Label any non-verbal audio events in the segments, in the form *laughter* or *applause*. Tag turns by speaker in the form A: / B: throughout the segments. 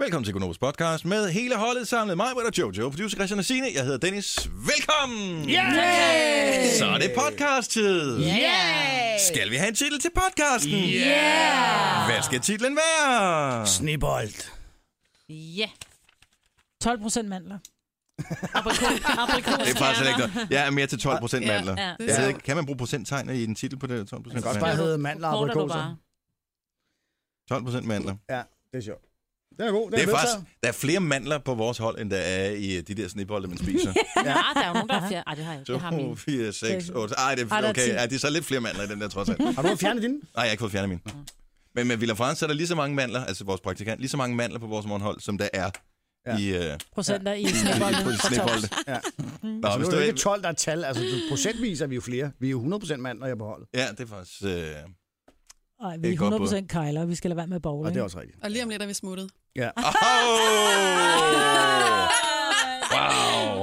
A: Velkommen til Gunobos podcast med hele holdet samlet. Mig, Britt og Jojo, producer Christian og Signe. Jeg hedder Dennis. Velkommen!
B: Yay!
A: Så er det podcast-tid.
B: Yay!
A: Skal vi have en titel til podcasten?
B: Yeah!
A: Hvad skal titlen være?
C: Snibbold.
B: Ja.
D: 12 procent mandler. *laughs*
B: Aprikos.
A: Det er faktisk heller ikke noget. Jeg er mere til 12 procent mandler.
B: Ja, ja.
A: Jeg ved ikke, kan man bruge procenttegn i en titel på det? 12
C: Det
A: procent
C: kan også bare
A: mandler.
C: hedde mandler og
B: Korter du
C: aprikoser.
B: bare.
A: 12 procent mandler.
C: Ja, det er sjovt. Det er god. Det
A: Det
C: er,
A: er
C: vedtaget.
A: faktisk, der er flere mandler på vores hold, end der er i øh, de der snibolde, man spiser.
B: Ja, der er jo nogen, der har fjerde. Ej, *laughs* det har jeg ikke. Jeg har min.
A: 2, 4, 6, 8. Ej, det
D: Ej,
A: er
D: der er
A: okay.
D: ti.
A: Ja, det er så lidt flere mandler i den der, trods alt.
C: Har du fjernet *laughs* din?
A: Nej, jeg har ikke fået fjernet min. Men med Villa France er der lige så mange mandler, altså vores praktikant, lige så mange mandler på vores morgenhold, som der er
C: Ja.
A: ja. i, øh,
D: Procenter i
A: på
D: snebolden.
A: snebolde.
C: Ja.
A: Nå,
C: Altså, nu
A: hvis
C: er
A: du
C: det
A: ikke...
C: ikke 12, der er tal. Altså, du- procentvis er vi jo flere. Vi er jo 100% mandler, jeg beholder.
A: Ja, det er faktisk... Øh,
D: Nej, vi
A: Det er
D: er
A: et godt
D: 100 procent kejler. Vi skal lade være med
C: Og det
D: bowling.
C: er også rigtigt.
E: Og lige om lidt er vi smuttet.
C: Ja.
A: Ah, oh! Wow!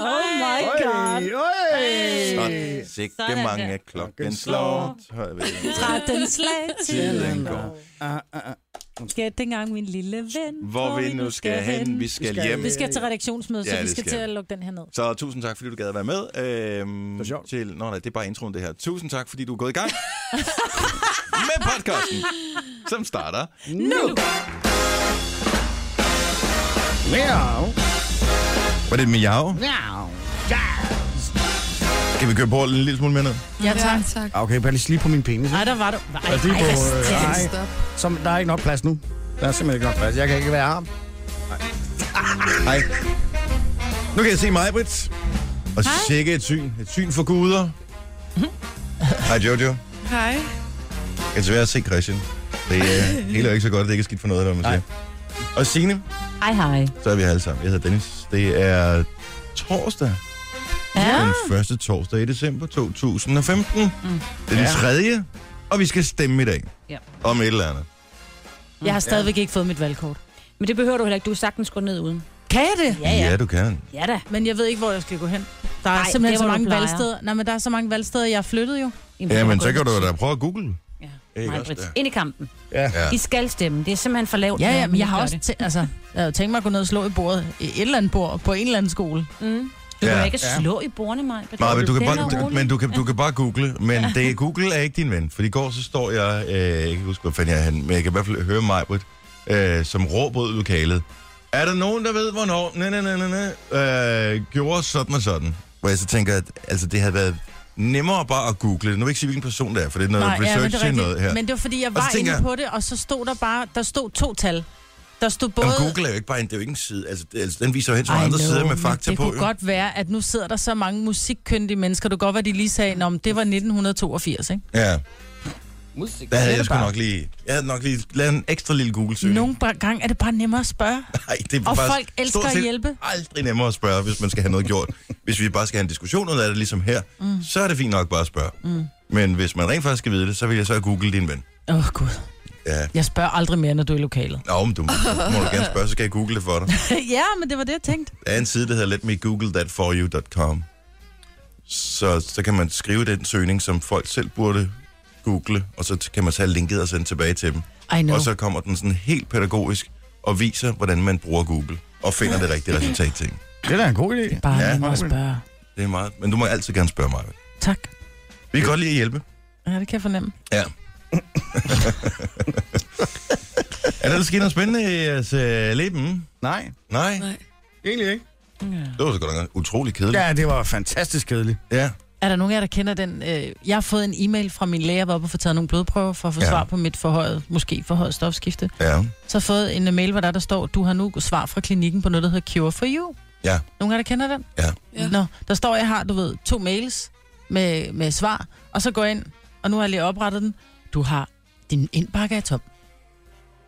D: Oh my
C: Øj,
D: god.
C: øj!
A: Så sikke
B: Sådan
A: mange
B: der.
A: af klokken slår. Så er vi-
D: Træt den slag
A: *laughs*
D: til.
A: Tiden går.
C: Ah, ah, ah.
D: Gæt dengang, min lille ven.
A: Hvor vi nu skal hen, vi skal
C: Vi skal
A: hjem.
D: Vi skal til redaktionsmøde, så
A: Ja,
D: vi
A: det
D: skal
A: skal
D: til
A: vi.
D: at lukke den her ned.
A: Så tusind tak, fordi du gad at være med. Øhm,
C: var sjovt.
A: Til, nå nej, det er bare introen det her. Tusind tak, fordi du er gået i gang *laughs* med podcasten, som starter
C: Nu! Miau.
A: Var det et miau?
C: Miau.
A: Kan vi køre på en lille smule mere ned?
D: Ja, tak.
E: tak.
C: Ah, Okay, bare lige slip på min penis. ikke?
D: Ej, der var du. Ej,
C: Altså, lige
D: ej,
C: på,
D: hvad
C: øh,
D: sker der?
C: ej.
E: Stop.
C: Som, der er ikke nok plads nu. Der er simpelthen ikke nok plads. Jeg kan ikke være arm.
A: Hej. Nu kan jeg se mig, Britt. Og sikke et syn. Et syn for guder. Hej, Jojo.
E: Hej.
A: Jeg er svært at se Christian. Det er helt ikke så godt, at det ikke er skidt for noget, hvad man siger. Og Signe,
B: Hej, hej.
A: så er vi her alle sammen. Jeg hedder Dennis. Det er torsdag.
B: Ja.
A: Den første torsdag i december 2015. Mm. Det er den
C: Ja.
A: tredje, og vi skal stemme i dag.
B: Ja.
A: Om et eller andet.
D: Mm. Jeg har stadigvæk ikke fået mit valgkort.
B: Men det behøver du heller ikke. Du er sagtens gå ned uden.
D: Kan jeg det?
B: Ja, ja.
A: ja du kan.
B: Ja da.
D: Men jeg ved ikke, hvor jeg skal gå hen. Der er
B: Ej,
D: simpelthen
B: det,
D: så
B: hvor du
D: mange
B: plejer.
D: valgsteder. Nej, men der er så mange valgsteder, jeg har flyttet jo.
A: Ja, men så kan du da prøve at google.
B: Ja.
A: Ikke
B: Nej,
A: også
B: Britt.
A: der?
B: Ind i kampen.
C: Ja.
A: Ja.
B: I skal stemme. Det er simpelthen for lavt.
D: Ja, ja,
B: når
D: men
B: I
D: jeg har
B: gør
D: også
B: det.
D: tæ- altså, jeg havde tænkt mig at gå ned og slå i bordet. I et eller andet bord på en eller anden skole.
B: Mm. Du
A: Ja.
B: kan ikke
C: Ja.
B: slå i bordene, mig.
A: Nej, men du, kan bare, du, men du, kan, du kan bare google, men det, er- Google er ikke din ven. For i går så står jeg, øh, jeg kan ikke huske, hvor fanden jeg er henne, men jeg kan i hvert fald høre mig, øh, som råber ud i lokalet. Er der nogen, der ved, hvornår næ, næ, næ, næ, næ, øh, gjorde sådan og sådan? Hvor jeg så tænker, at altså, det havde været nemmere bare at google det. Nu vil jeg ikke sige, hvilken person det er, for det er noget Nej, research ja, til noget her.
D: Men det var, fordi jeg
A: så
D: var
A: tænker
D: inde
A: jeg-
D: på det, og så stod der bare, der stod to tal. Der stod både...
A: Jamen, Google er jo ikke bare en, det er jo ikke en side. Altså, det- altså den viser jo hen til nogle
D: I
A: andre
D: know,
A: sider med
D: men
A: fakta
D: det
A: på.
D: kunne
A: jo.
D: godt være, at nu sidder der så mange musikkyndige mennesker. Du kan godt være, de lige sagde, om det var 1982, ikke?
A: Ja,
C: Musik.
A: der havde jeg sgu nok lige, jeg havde nok lige lavet en ekstra lille Google-søgning.
D: Nogle ba- gange er det bare nemmere at spørge.
A: Nej, det er
D: Og
A: faktisk
D: folk elsker
A: stort
D: at
A: set
D: hjælpe.
A: aldrig nemmere at spørge, hvis man skal have noget
D: *laughs*
A: gjort. Hvis vi bare skal have en diskussion ud af det, ligesom her, mm. så er det fint nok bare at spørge. Mm. Men hvis man rent faktisk skal vide det, så vil jeg så google din ven.
D: Åh, oh, Gud.
A: Ja,
D: Jeg spørger aldrig mere, når du er i lokalet.
A: Nå, men du må, må du gerne spørge, så kan jeg google det for dig.
D: *laughs* ja, men det var det, jeg tænkte.
A: Der er en side, der hedder letmegoogle.thatforyou.com. Så, så kan man skrive den søgning, som folk selv burde google, og så kan man tage linket og sende tilbage til dem.
D: I know.
A: Og så kommer den sådan helt pædagogisk og viser, hvordan man bruger Google, og finder det rigtige resultat til en.
C: Det er da en god idé.
D: Bare
A: Ja.
D: ja, nemmere at spørge.
A: Det er meget. Men du må altid gerne spørge mig. vel?
D: Tak.
A: Vi kan godt lide at hjælpe.
D: Ja, det kan jeg fornemme.
A: Ja. er der, der sket noget spændende i jeres øh, leben?
C: Nej,
A: Nej,
E: Nej.
C: egentlig ikke.
A: det var så godt nok utrolig kedeligt.
C: Ja, det var fantastisk kedeligt.
A: ja.
D: Er der nogen af jer, der kender den? Øh, jeg har fået en e-mail fra min læge, jeg var oppe og få taget nogle blodprøver for at få
A: Ja.
D: ja. svar på mit forhøjet, måske forhøjet stofskifte.
A: ja.
D: Så har jeg fået en øh, mail, hvor der, der står, du har nu svar fra klinikken på noget, der hedder Cure for You.
A: Ja.
D: Nogen af jer, der kender den?
A: Ja.
E: Ja.
D: Nå, der står, jeg har, du ved, to mails med, med svar, og så går jeg ind, og nu har jeg lige oprettet den. Du har, din indbakke er tom.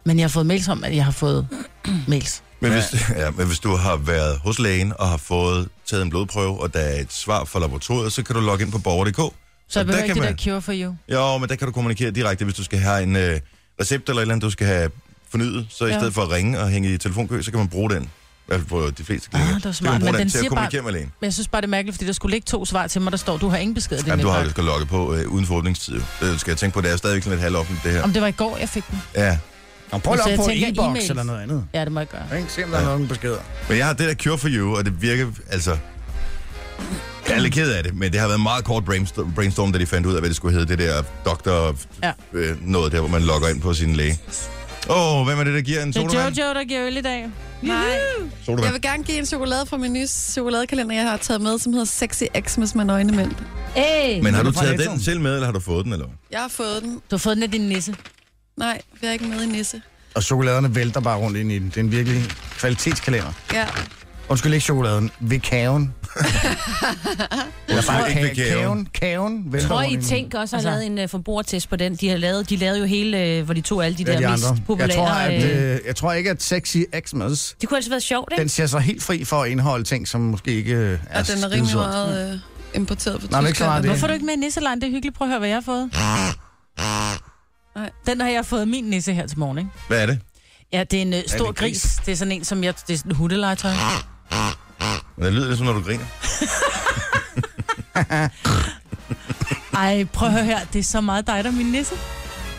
D: Men jeg har fået mails om, at jeg har fået *clears throat* mails.
A: Men,
C: Ja.
A: hvis, *laughs* ja, men hvis du har været hos lægen og har fået taget en blodprøve, og der er et svar fra laboratoriet, så kan du logge ind på borger.dk.
D: Så jeg
A: Og der
D: behøver ikke
A: kan
D: det
A: man-
D: der Cure for You.
A: Jo, men der kan du kommunikere direkte, hvis du skal have en øh, recept eller et eller andet, du skal have fornyet. Så i
D: Ja.
A: stedet for at ringe og hænge i telefonkø, så kan man bruge den. I hvert fald på de fleste klinikker.
D: Ah, det var
A: så kan man
D: smart,
A: bruge
D: men
A: den,
D: den
A: til at
D: siger bare-
A: kommunikere med lægen.
D: Men jeg synes bare, det er mærkeligt, fordi der skulle ligge to svar til mig, der står, du har ingen besked i din
A: Jamen, du har
D: indbakke.
A: det skal logge på øh, uden for åbningstid. jo. Det skal jeg tænke på, det er stadigvæk sådan lidt halvoffentligt, det her.
D: Om det var i går, jeg fik den.
A: Ja.
C: Nå, prøv
D: Så
C: lige
D: jeg
C: op på
D: tænker
C: e-boks
D: e-mails.
C: eller noget andet.
D: Ja, det må jeg gøre.
C: Ikke? Se, om der er nogen beskeder.
A: Men jeg har det der Cure for You, og det virker, altså... Jeg er lidt ked af det, men det har været en meget kort brainstorm, brainstorm da de fandt ud af, hvad det skulle hedde, det der doktor...
D: Ja.
A: Øh, noget der, hvor man logger ind på sin læge. Åh, oh, hvem er det, der giver en
B: Det er
A: sodavand?
B: Jojo, der giver øl i dag.
E: Nej. Jeg
A: Sodavand.
E: vil gerne give en chokolade fra min nye chokoladekalender, jeg har taget med, som hedder Sexy Xmas med nøgne mænd.
B: Hey.
A: Men har du
C: Fra
A: taget
C: Netto.
A: den selv med, eller har du fået den, eller hvad?
E: Jeg har fået den.
D: Du har fået den af din nisse.
E: Nej, jeg er ikke med i Nisse.
C: Og chokoladerne vælter bare rundt ind i den. Det er en virkelig kvalitetskalender.
E: Ja,
C: Undskyld, ikke chokoladen. Ved kagen. Eller bare
A: Ikke ved
C: ka-
A: kagen.
C: kagen. Kagen vælter
B: Jeg tror,
C: rundt
B: I
C: ind i den.
B: Tænk også har
D: Altså-
B: lavet en uh, forbrugertest på den. De, har lavet, de lavede jo hele, øh, hvor de tog alle de der
C: Ja, de andre.
B: mest populære...
C: Jeg tror, at,
B: øh,
C: øh, jeg tror ikke, at sexy Xmas,
B: det kunne altså være sjovt, ikke?
C: den ser så helt fri for at indeholde ting, som måske ikke øh, er
E: og den er rimelig
C: skidesund.
E: meget øh, importeret fra
C: Nej, men ikke så meget
E: Tyskland.
C: af
D: Hvorfor er du ikke med i nisselejen? Det er hyggeligt. Prøv at høre, hvad jeg har fået.
E: Nej.
D: Den har jeg fået af min nisse her til morgen, ikke?
A: Hvad er det?
D: Ja, det er en øh, stor
C: en
D: gris.
C: gris?
D: Det er sådan en, som jeg... Det er sådan en hundelegetøj.
A: Det lyder lidt som, når du griner.
D: Ej, prøv at høre her. Det er så meget dig, der er min nisse.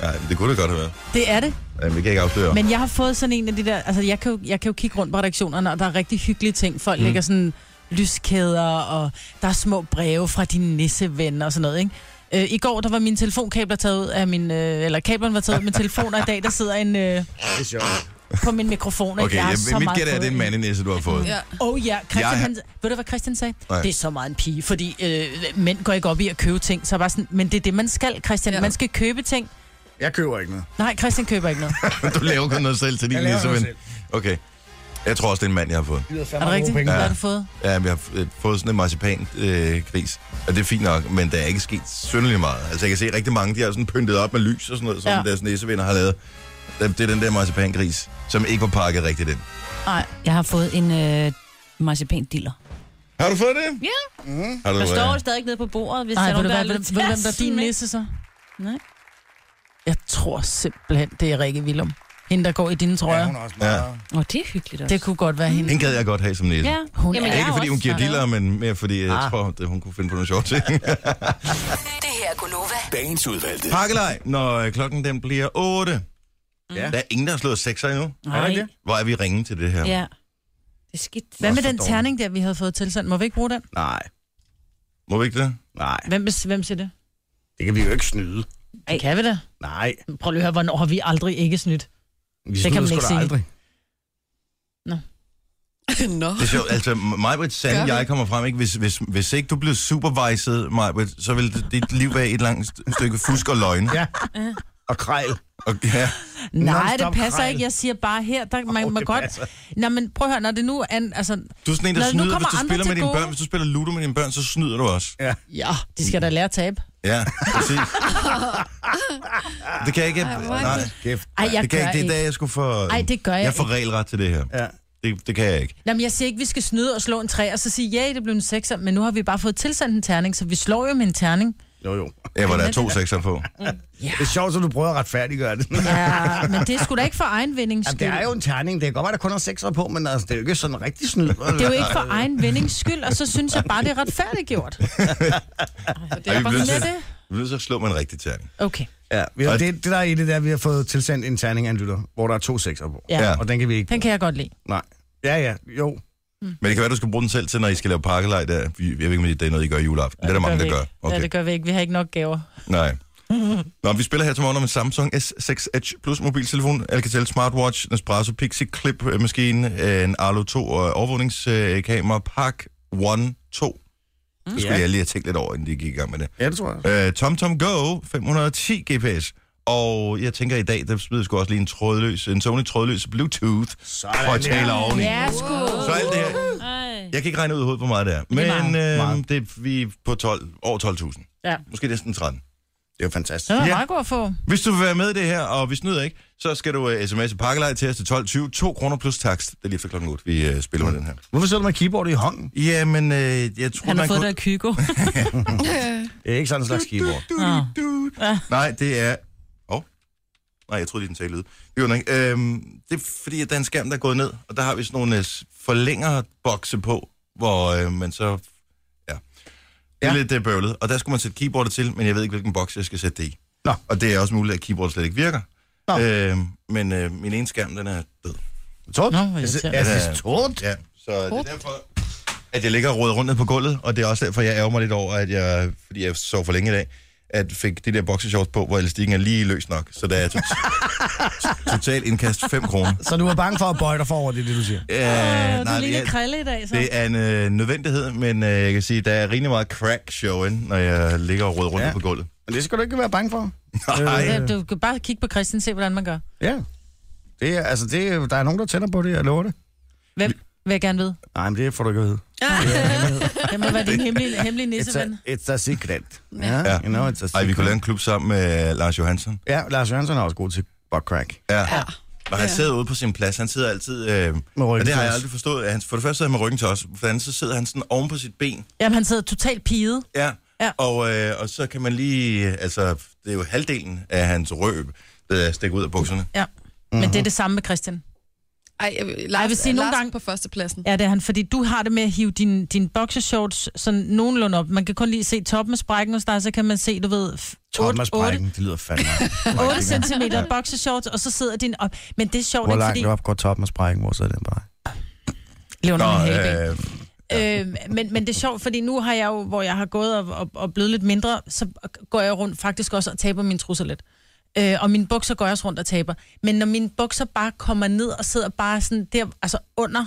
A: Ja, det kunne det godt have været.
D: Det er det.
A: Ja, men det kan jeg ikke afsløre. Men...
D: Men jeg har fået sådan en af de der... Altså, jeg kan jo, jeg kan jo kigge rundt på redaktionerne, og der er rigtig hyggelige ting. Folk mm. lægger sådan lyskæder, og der er små breve fra dine nissevenner og sådan noget, ikke? Øh, I går, der var mine telefonkabler taget ud af min... Øh, eller kablerne var taget ud af min telefon, og i dag, der sidder en øh,
C: Det er sjovt.
D: på min mikrofon. ikke?
A: Okay,
D: jeg
A: jeg,
D: har
A: jeg,
D: så
A: mit
D: meget
A: gæt er, at
D: fået
A: det er en
D: af-
A: mandenisse, du har fået.
E: Ja. *laughs*
D: Oh ja, Christian,
A: Jeg-
D: han, ved du hvad Christian sagde?
A: Nej.
D: Det er så meget en pige, fordi øh, mænd går ikke op i at købe ting, så bare sådan, men det er det, man skal, Christian. Ja.
E: Ja.
D: Man skal købe ting.
C: Jeg køber ikke noget.
D: Nej, Christian køber ikke noget.
A: *laughs* du laver kun noget selv til din
C: Jeg laver
A: nisse,
C: noget
A: men... Okay. Jeg tror også, det er en mand, jeg har fået.
D: er det rigtigt? Hvad
A: Ja.
D: har du fået?
A: Ja, vi har øh, fået sådan en marcipan øh, gris, og det er fint nok, men der er ikke sket synderligt meget. Altså, jeg kan se rigtig mange, de har sådan pyntet op med lys og sådan noget, som
D: Ja.
A: ja. deres næsevinder har lavet. Det det er den der marcipangris, som ikke var pakket rigtigt ind.
D: Nej.
B: Jeg har fået en øh, marcipan diller.
A: Har du fået det?
B: Ja.
A: Mm. Har du,
B: Der
A: øh,
B: står jo stadig nede på bordet, hvis
D: Nej,
B: der
D: ved
B: er
D: du,
B: nogen,
D: hvad,
B: der
D: ved, du- ved du, hvem der er din nisse så?
B: Nej.
D: Jeg tror simpelthen, det er Rikke Willum. Hende, der går i dine trøjer.
C: Ja, hun er også meget...
B: Åh, det er hyggeligt også.
D: det kunne godt være hende.
A: hende gad jeg godt have som næse.
B: Ja,
D: Hun
B: Jamen,
D: er-
B: jeg
A: ikke
B: jo
A: fordi hun
B: også
A: giver
B: sådan
A: dealer, men mere fordi jeg
D: Ah.
A: tror, det, hun kunne finde på nogle sjove ting.
F: *laughs* Det her er Gunova.
G: Dagens udvalgte.
A: Pakkelej, når øh, klokken den bliver 8.
C: Ja.
B: Mm.
A: Ja. Der er ingen, der har slået 6 endnu.
B: noget.
C: Er det ikke
A: Hvor er vi ringe til det her?
B: Nej. Ja. Det er skidt.
D: Hvad med
C: Også
D: den
C: for
D: terning der, vi havde fået tilsendt? Må vi ikke bruge den?
C: Nej,
A: Må vi ikke det?
C: nej.
D: Hvem, bes- hvem siger det?
C: Det kan vi jo ikke snyde.
D: Det kan vi da.
C: Nej.
D: Prøv lige at høre, hvornår har vi aldrig ikke snydt?
C: Vi
D: kan
C: snyder
D: man
C: sgu
D: ikke
C: da
D: sige.
C: Aldrig.
E: Nå.
A: Det er sjovt. Altså, Majbrit, Sande
E: Gør
A: og
E: vi?
A: jeg kommer frem, ikke? Hvis, hvis, hvis ikke du blev supervised, Majbrit, så ville det- dit liv være et langt st- stykke fusk og løgn.
C: Ja. Og krejl.
A: Og, ja.
D: Nej, det
C: Non-stop
D: passer
C: krejl.
D: ikke. Jeg siger bare her, der, man
C: Åh,
D: oh, må
C: det
D: godt...
C: passer.
D: Nå, men prøv at høre, når det nu er... en- Altså,
A: Du er sådan en, der
D: Nå,
A: Nå,
D: nu
A: snyder. Hvis
D: kommer
A: du
D: andre
A: spiller med
D: til
A: dine
D: gode.
A: børn, hvis du spiller ludo med dine børn, så snyder du også.
D: ja, de skal da lære at tabe.
A: Ja, præcis. det kan jeg ikke...
E: Ej, hvor er
A: nej,
E: det-
C: Kæft.
D: Ej, jeg
A: det
D: gør
A: kan jeg ikke. Det
D: ikke.
A: er da, jeg skulle få...
D: Ej, det gør jeg
A: Jeg får regelret til det her.
C: Ja.
A: Det, det kan jeg ikke.
D: Nå, men jeg siger ikke, vi skal snyde og slå en træ, og så sige, ja, det blev en sekser, men nu har vi bare fået tilsendt en terning, så vi slår jo med en terning.
C: Jo, jo.
A: Ja, hvor der er to sekser på.
C: Det er sjovt, at du prøver at retfærdiggøre det.
D: Ja, *laughs* men det er sgu da ikke for egen vindings
C: Jamen,
D: skyld.
C: det er jo en terning. Det kan godt være, der kun er sekser på, men altså, det er jo ikke sådan rigtig snyd.
D: det er jo ikke for egen vindings skyld, og så synes jeg bare, det er retfærdiggjort.
E: Det er
A: vi bliver
E: bare sådan
A: nødt
D: Med
E: lidt.
A: til-
D: det?
A: Vi er nødt til at slå med en rigtig terning.
D: Okay.
C: Ja, vi har,
A: Og-
C: det, det, der er i det der, vi har fået tilsendt en terning af en lytter, hvor der er to sekser på.
D: Ja.
A: Ja.
C: Og den kan vi ikke.
D: Den kan jeg godt lide.
C: Nej. Ja, ja, jo.
A: Men det kan være, du skal bruge den selv til, når I skal lave pakkelej. Der. Jeg ved ikke, om det er noget, I gør i juleaften. det er der mange, der
D: vi
A: gør.
D: ikke. Ja, det gør vi ikke. Vi har ikke nok gaver.
A: Nej. Nå, vi spiller her til morgen om en Samsung S6 Edge Plus mobiltelefon, Alcatel smartwatch, Nespresso Pixie Clip øh, maskine, øh, en Arlo 2 og overvågningskamera, øh, Park One 2. Det skulle
C: Ja.
A: jeg lige have tænkt lidt over, inden de gik i gang med det.
C: Ja, det tror jeg.
A: Øh, TomTom Go 510 GPS. Og jeg tænker i dag, der smider jeg sgu også lige en trådløs, en Sony trådløs Bluetooth
C: Sådan
A: højtaler
C: der.
A: oveni.
D: Ja, sgu.
A: Så alt det her.
B: Ej.
A: Jeg kan ikke regne ud i hovedet, hvor meget det er.
D: er
A: Men øh,
C: Meget.
A: det er, vi er på 12, over 12.000.
D: Ja.
A: Måske næsten 13.
C: Det er jo
D: Så er
C: fantastisk.
D: det
A: Ja.
D: meget godt at få.
A: Hvis du vil være med i det her, og vi snyder ikke, så skal du uh, sms'e pakkelej til os til 12.20. 2 kroner plus takst. Det er lige efter klokken 8, vi uh, spiller med den her.
C: Hvorfor sidder du med keyboardet i hånden?
A: Jamen, øh, jeg tror,
B: Mm. Han har
A: man
B: fået
A: kunne...
B: det af Kygo.
C: Det er ikke sådan en slags keyboard.
A: Du, du, du. Nej, det er... Åh. Oh. Nej, jeg troede lige, den sagde lyd. Det gjorde den ikke. Øhm, det er fordi, at der er en skærm, der er gået ned, og der har vi sådan nogle øh, forlængere bokse på, hvor øh, man så... Ja. Det er
C: Ja.
A: lidt øh, bøvlet. Og der skulle man sætte keyboardet til, men jeg ved ikke, hvilken boks jeg skal sætte det i.
C: Nå.
A: Og det er også muligt, at keyboardet slet ikke virker.
C: Nå.
A: Øh, men øh, min ene skærm, den er død.
C: Tot?
D: Nå, hvor
C: Jeg siger-
D: irriterende.
C: jeg siger tot.
A: Ja, så det er derfor, at jeg ligger og roder rundt ned på gulvet, og det er også derfor, jeg ærger mig lidt over, at jeg, fordi jeg sov for længe i dag, at fik de der boxershorts på, hvor elastikken er lige løs nok. Så der er tot-
C: *laughs*
A: totalt indkast 5 kroner.
C: Så du er bange for at bøje dig forover, det er det, du siger.
A: Øh,
D: Åh, Ah, du er
A: det,
D: lille
A: er,
D: krille i
C: altså.
D: dag, så.
A: det er en øh, nødvendighed, men øh, jeg kan sige, der er rimelig meget crack showing, når jeg ligger og roder rundt
C: Ja.
A: ja. på gulvet.
C: Men det skal du ikke være bange for.
A: Nej.
D: Ja, Øh, Du kan bare kigge på Christian og se, hvordan man gør.
C: Ja. Det er, altså, det er, der er nogen, der tænder på det, jeg lover det.
D: Hvem vil jeg gerne vide?
C: Nej, men det får du ikke at vide.
D: Det må være din hemmelige, hemmelige
C: It's
D: nisseven.
C: a, it's a secret. Ja, yeah. you know, it's a secret.
A: Ej, vi kunne lave en klub sammen med Lars Johansson.
C: Ja, Lars Jørgensen er også god til butt crack.
A: Ja. ja. Og han sidder ude på sin plads. Han sidder altid... Øh,
C: Med ryggen
A: og det har
C: til
A: jeg
C: os.
A: aldrig forstået. Han, for det første sidder han med ryggen til os. For det andet, så sidder han sådan oven på sit ben.
D: Jamen, han sidder totalt piget.
A: Ja.
D: Ja.
A: Og, øh, og så kan man lige... Altså, det er jo halvdelen af hans røb, der stikker ud af bukserne.
D: Ja. Men det er det samme med Christian.
E: Ej, jeg, Lars,
D: jeg vil sige,
E: Lars
D: nogle gange-
E: på førstepladsen.
D: Ja, det er han, fordi du har det med at hive din, din boxershorts sådan nogenlunde op. Man kan kun lige se toppen af sprækken hos dig, så kan man se, du ved,
C: Toppen af
D: 8,
C: sprækken, det lyder
D: *laughs*
C: fandme.
D: 8 cm boxershorts, og så sidder din op. Men det er sjovt,
C: Hvor
D: ikke,
C: langt
D: fordi...
C: op går toppen af sprækken? Hvor sidder den bare?
D: Lever
A: Nå,
D: nogen øh...
A: øh,
D: øh, men, men det er sjovt, fordi nu har jeg jo, hvor jeg har gået og, og, og blevet lidt mindre, så går jeg rundt faktisk også og taber mine trusser lidt. Øh, og mine bukser går jeg også rundt og taber. Men når mine bukser bare kommer ned og sidder bare sådan der, altså under,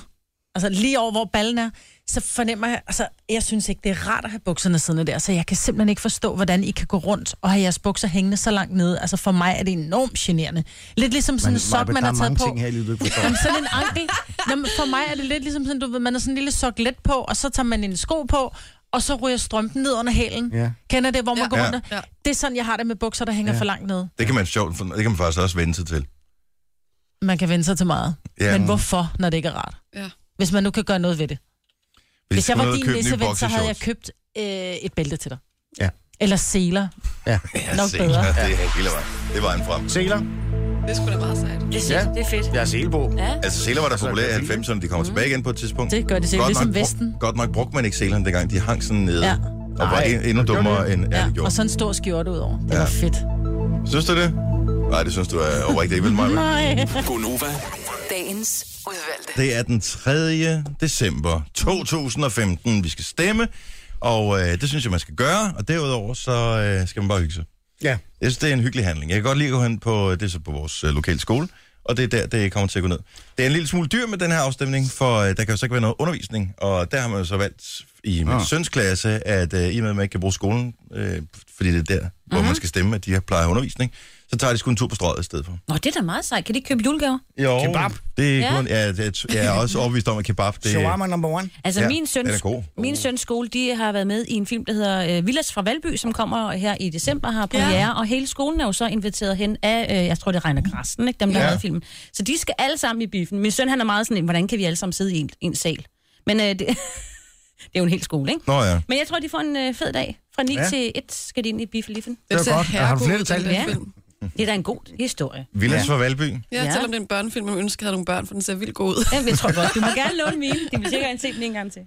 D: altså lige over, hvor ballen er, så fornemmer jeg, altså jeg synes ikke, det er rart at have bukserne siddende der, så jeg kan simpelthen ikke forstå, hvordan I kan gå rundt og have jeres bukser hængende så langt nede. Altså for mig er det enormt generende. Lidt ligesom sådan en sok,
C: Maja,
D: man har
C: Der er
D: taget
C: mange
D: på.
C: ting her i livet, du ikke forstår.
D: Jamen, sådan en ankel. Jamen, for mig er det lidt ligesom sådan, du ved, man har sådan en lille sok let på, og så tager man en sko på, og så ryger strømpen ned under hælen.
C: Ja.
D: Kender det, hvor man
E: Ja.
D: går
A: Ja.
D: rundt? og-
E: Ja.
D: Det er sådan, jeg har det med bukser, der hænger
C: Ja.
D: for langt ned.
A: det kan man sjovt... for- Det kan man faktisk også vende sig til.
D: Man kan vende sig til meget.
A: Ja.
D: Men hvorfor, når det ikke er rart?
E: Ja.
D: Hvis man nu kan gøre noget ved det.
A: Hvis,
D: Hvis jeg
A: du
D: var
A: nåede at
D: din
A: købe nye
D: nisseven, så havde jeg
A: boxershorts.
D: købt øh, et bælte til dig.
C: Ja.
D: Eller seler.
A: Ja,
D: nok
A: se,
D: bedre.
A: Det er hele vejen. Det var en frem.
C: Seler.
E: Det skulle da meget sejt.
F: Det,
C: Ja.
F: ja. det er fedt.
C: Jeg er selbo.
A: Altså, seler var der populære i 90'erne. De kommer tilbage igen på et tidspunkt.
D: Mm. Det gør de sikkert, ligesom
A: nok, bru-
D: Vesten.
A: Godt nok brugte man ikke selerne dengang. De hang sådan nede.
D: Ja.
A: Ja. Og var
C: Nej,
A: en- endnu
C: det gjorde
A: dummere
C: det.
A: end ja,
D: Ja,
A: de gjorde.
D: og så en stor skjorte ud over. Det
A: Ja.
D: var fedt. Mhm.
A: Synes du det? Nej, det synes du er overrigtigt, vel, Maja?
D: Nej.
G: Gonova.
F: Dagens udvalgte.
A: Det er den 3. december 2015, vi skal stemme, og øh, det synes jeg, man skal gøre, og derudover så øh, skal man bare hygge sig.
C: Ja.
A: Jeg synes, det er en hyggelig handling. Jeg kan godt lide at gå hen på, det er så på vores øh, lokale skole, og det er der, det kommer til at gå ned. Det er en lille smule dyr med den her afstemning, for øh, der kan jo så ikke være noget undervisning, og der har man jo så valgt i min
C: Ah.
A: søns klasse, at øh, i og med, at man ikke kan bruge skolen, øh, fordi det er der, hvor man skal stemme, at de har plejer undervisning, så tager de sgu en tur på strøget i stedet for.
B: Nå, det er da meget sejt. Kan de ikke købe julegaver?
A: Jo,
C: Kebab.
A: Det er
B: Ja.
A: kun, ja. det er, jeg er også overbevist om, at kebab... Det,
C: Shawarma number one.
B: Altså,
A: Ja,
B: ja, min,
A: den er
B: søns,
A: god.
B: min søns skole, de har været med i en film, der hedder øh, Villas fra Valby, som kommer her i december, har premiere, ja. og hele skolen er jo så inviteret hen af, øh, jeg tror, det regner Græsten, ikke? dem, der
A: Ja.
B: ja. lavede filmen. Så de skal alle sammen i biffen. Min søn, han er meget sådan, en, hvordan kan vi alle sammen sidde i en, en sal? Men øh, det, *laughs* det er jo en hel skole, ikke?
A: Nå ja.
B: Men jeg tror, de får en øh, fed dag. Fra 9
C: Ja.
B: ja. til 1 skal de ind i biffeliffen.
C: Det var
E: ser
C: godt. Har du
E: herregod
C: flere
E: ud,
C: detaljer?
E: den der
B: Ja.
E: film.
B: Det er da en god historie.
A: Villas ja. fra Valby.
E: Ja,
B: Ja.
E: selvom det er en børnefilm, og man ønsker, at havde nogle børn, for den ser vildt god ud.
B: Ja, jeg tror godt. Du må gerne låne mine. De vil sikkert se den en gang til.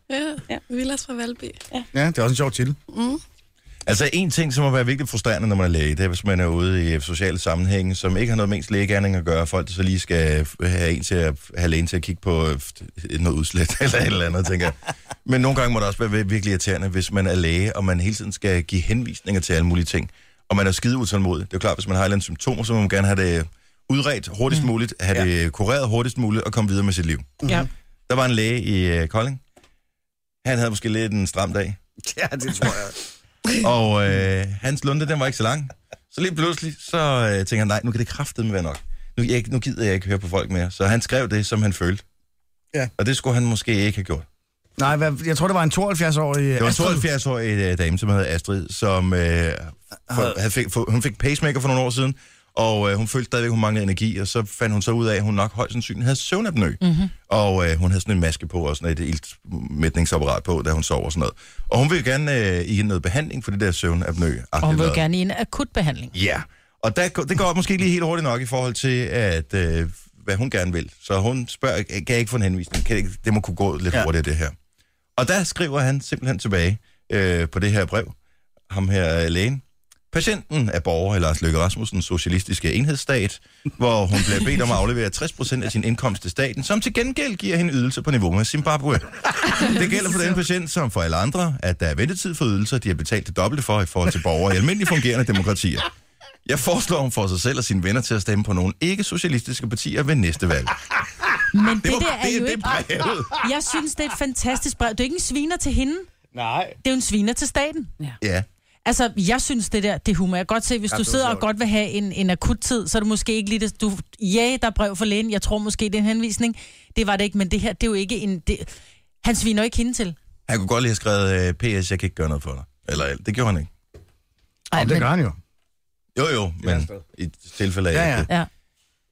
E: Ja. Villas fra Valby.
C: Ja, det er også en sjov titel.
A: Altså en ting, som må være virkelig frustrerende, når man er læge, det er, hvis man er ude i sociale sammenhænge, som ikke har noget med ens lægegærning at gøre, folk der så lige skal have en til at, have lægen til at kigge på øh, noget udslæt *laughs* eller et eller andet, tænker jeg. Men nogle gange må det også være vir- virkelig irriterende, hvis man er læge, og man hele tiden skal give henvisninger til alle mulige ting, og man er skide utålmodig. Det er jo klart, hvis man har et eller andet symptomer, så må man gerne have det udredt hurtigst muligt, have det kureret hurtigst muligt og komme videre med sit liv.
D: Ja.
A: Der var en læge i øh, Kolding. Han havde måske lidt en stram dag.
C: Ja, det tror jeg.
A: Og øh, hans lunde, den var ikke så lang. Så lige pludselig, så øh, tænker han, nej, nu kan det kraftedeme være nok. Nu, jeg, nu gider jeg ikke høre på folk mere. Så han skrev det, som han følte.
C: Ja.
A: Og det skulle han måske ikke have gjort.
C: Nej, hvad, jeg tror, det var en 72-årig...
A: Det var en 72-årig øh, dame, som hedder Astrid, som øh,
D: Ah.
A: for, havde fik, for, hun fik pacemaker for nogle år siden, og øh, hun følte stadigvæk, hun manglede energi, og så fandt hun så ud af, at hun nok højst sandsynligt havde søvnapnø. Mm-hmm. Og øh, hun havde sådan en maske på og sådan et iltmætningsapparat på, da hun sov og sådan noget. Og hun ville gerne øh, i noget behandling for det der søvnapnø.
D: Og hun vil gerne i en akut behandling.
A: Ja, og der, går- det går måske lige helt hurtigt nok i forhold til, at, øh, hvad hun gerne vil. Så hun spørger, kan jeg ikke få en henvisning? Kan jeg, ikke- det må kunne gå lidt ja.
C: Ja.
A: hurtigt, det her. Og der skriver han simpelthen tilbage øh, på det her brev, ham her øh, lægen. Patienten er borger af Lars Løkke Rasmussens socialistiske enhedsstat, hvor hun bliver bedt om at aflevere 60% af sin indkomst til staten, som til gengæld giver hende ydelse på niveau med Zimbabwe. Det gælder for den patient, som for alle andre, at der er ventetid for ydelser, de har betalt det dobbelte for i forhold til borgere i almindeligt fungerende demokratier. Jeg foreslår hun for sig selv og sine venner til at stemme på nogle ikke-socialistiske partier ved næste valg.
D: Men det,
A: Det,
D: det
A: var,
D: der er
A: det,
D: jo
A: det,
D: ikke...
A: er brevet.
D: Jeg synes, det er et fantastisk brev. Det er ikke en sviner til hende.
C: Nej.
D: Det er jo en sviner til staten.
A: Ja.
D: Altså, jeg synes det der, det er humor. Jeg kan godt se, hvis
C: Ja,
D: ja,
C: det var
D: du sidder og
C: sjovt.
D: godt vil have en, en akut tid, så er det måske ikke lige det, du... Ja, der er brev fra lægen. Jeg tror måske, det er en henvisning. Det var det ikke, men det her, det er jo ikke en... Det, han sviner jo ikke hende til.
A: Han kunne godt lige have skrevet, øh, PS, jeg kan ikke gøre noget for dig. Eller alt. det gjorde han ikke.
C: Jamen, det gør han jo.
A: Jo, jo,
C: er
A: men
C: afsted.
A: i tilfælde af...
C: Ja,
A: at
C: ja.
A: det-
D: Ja,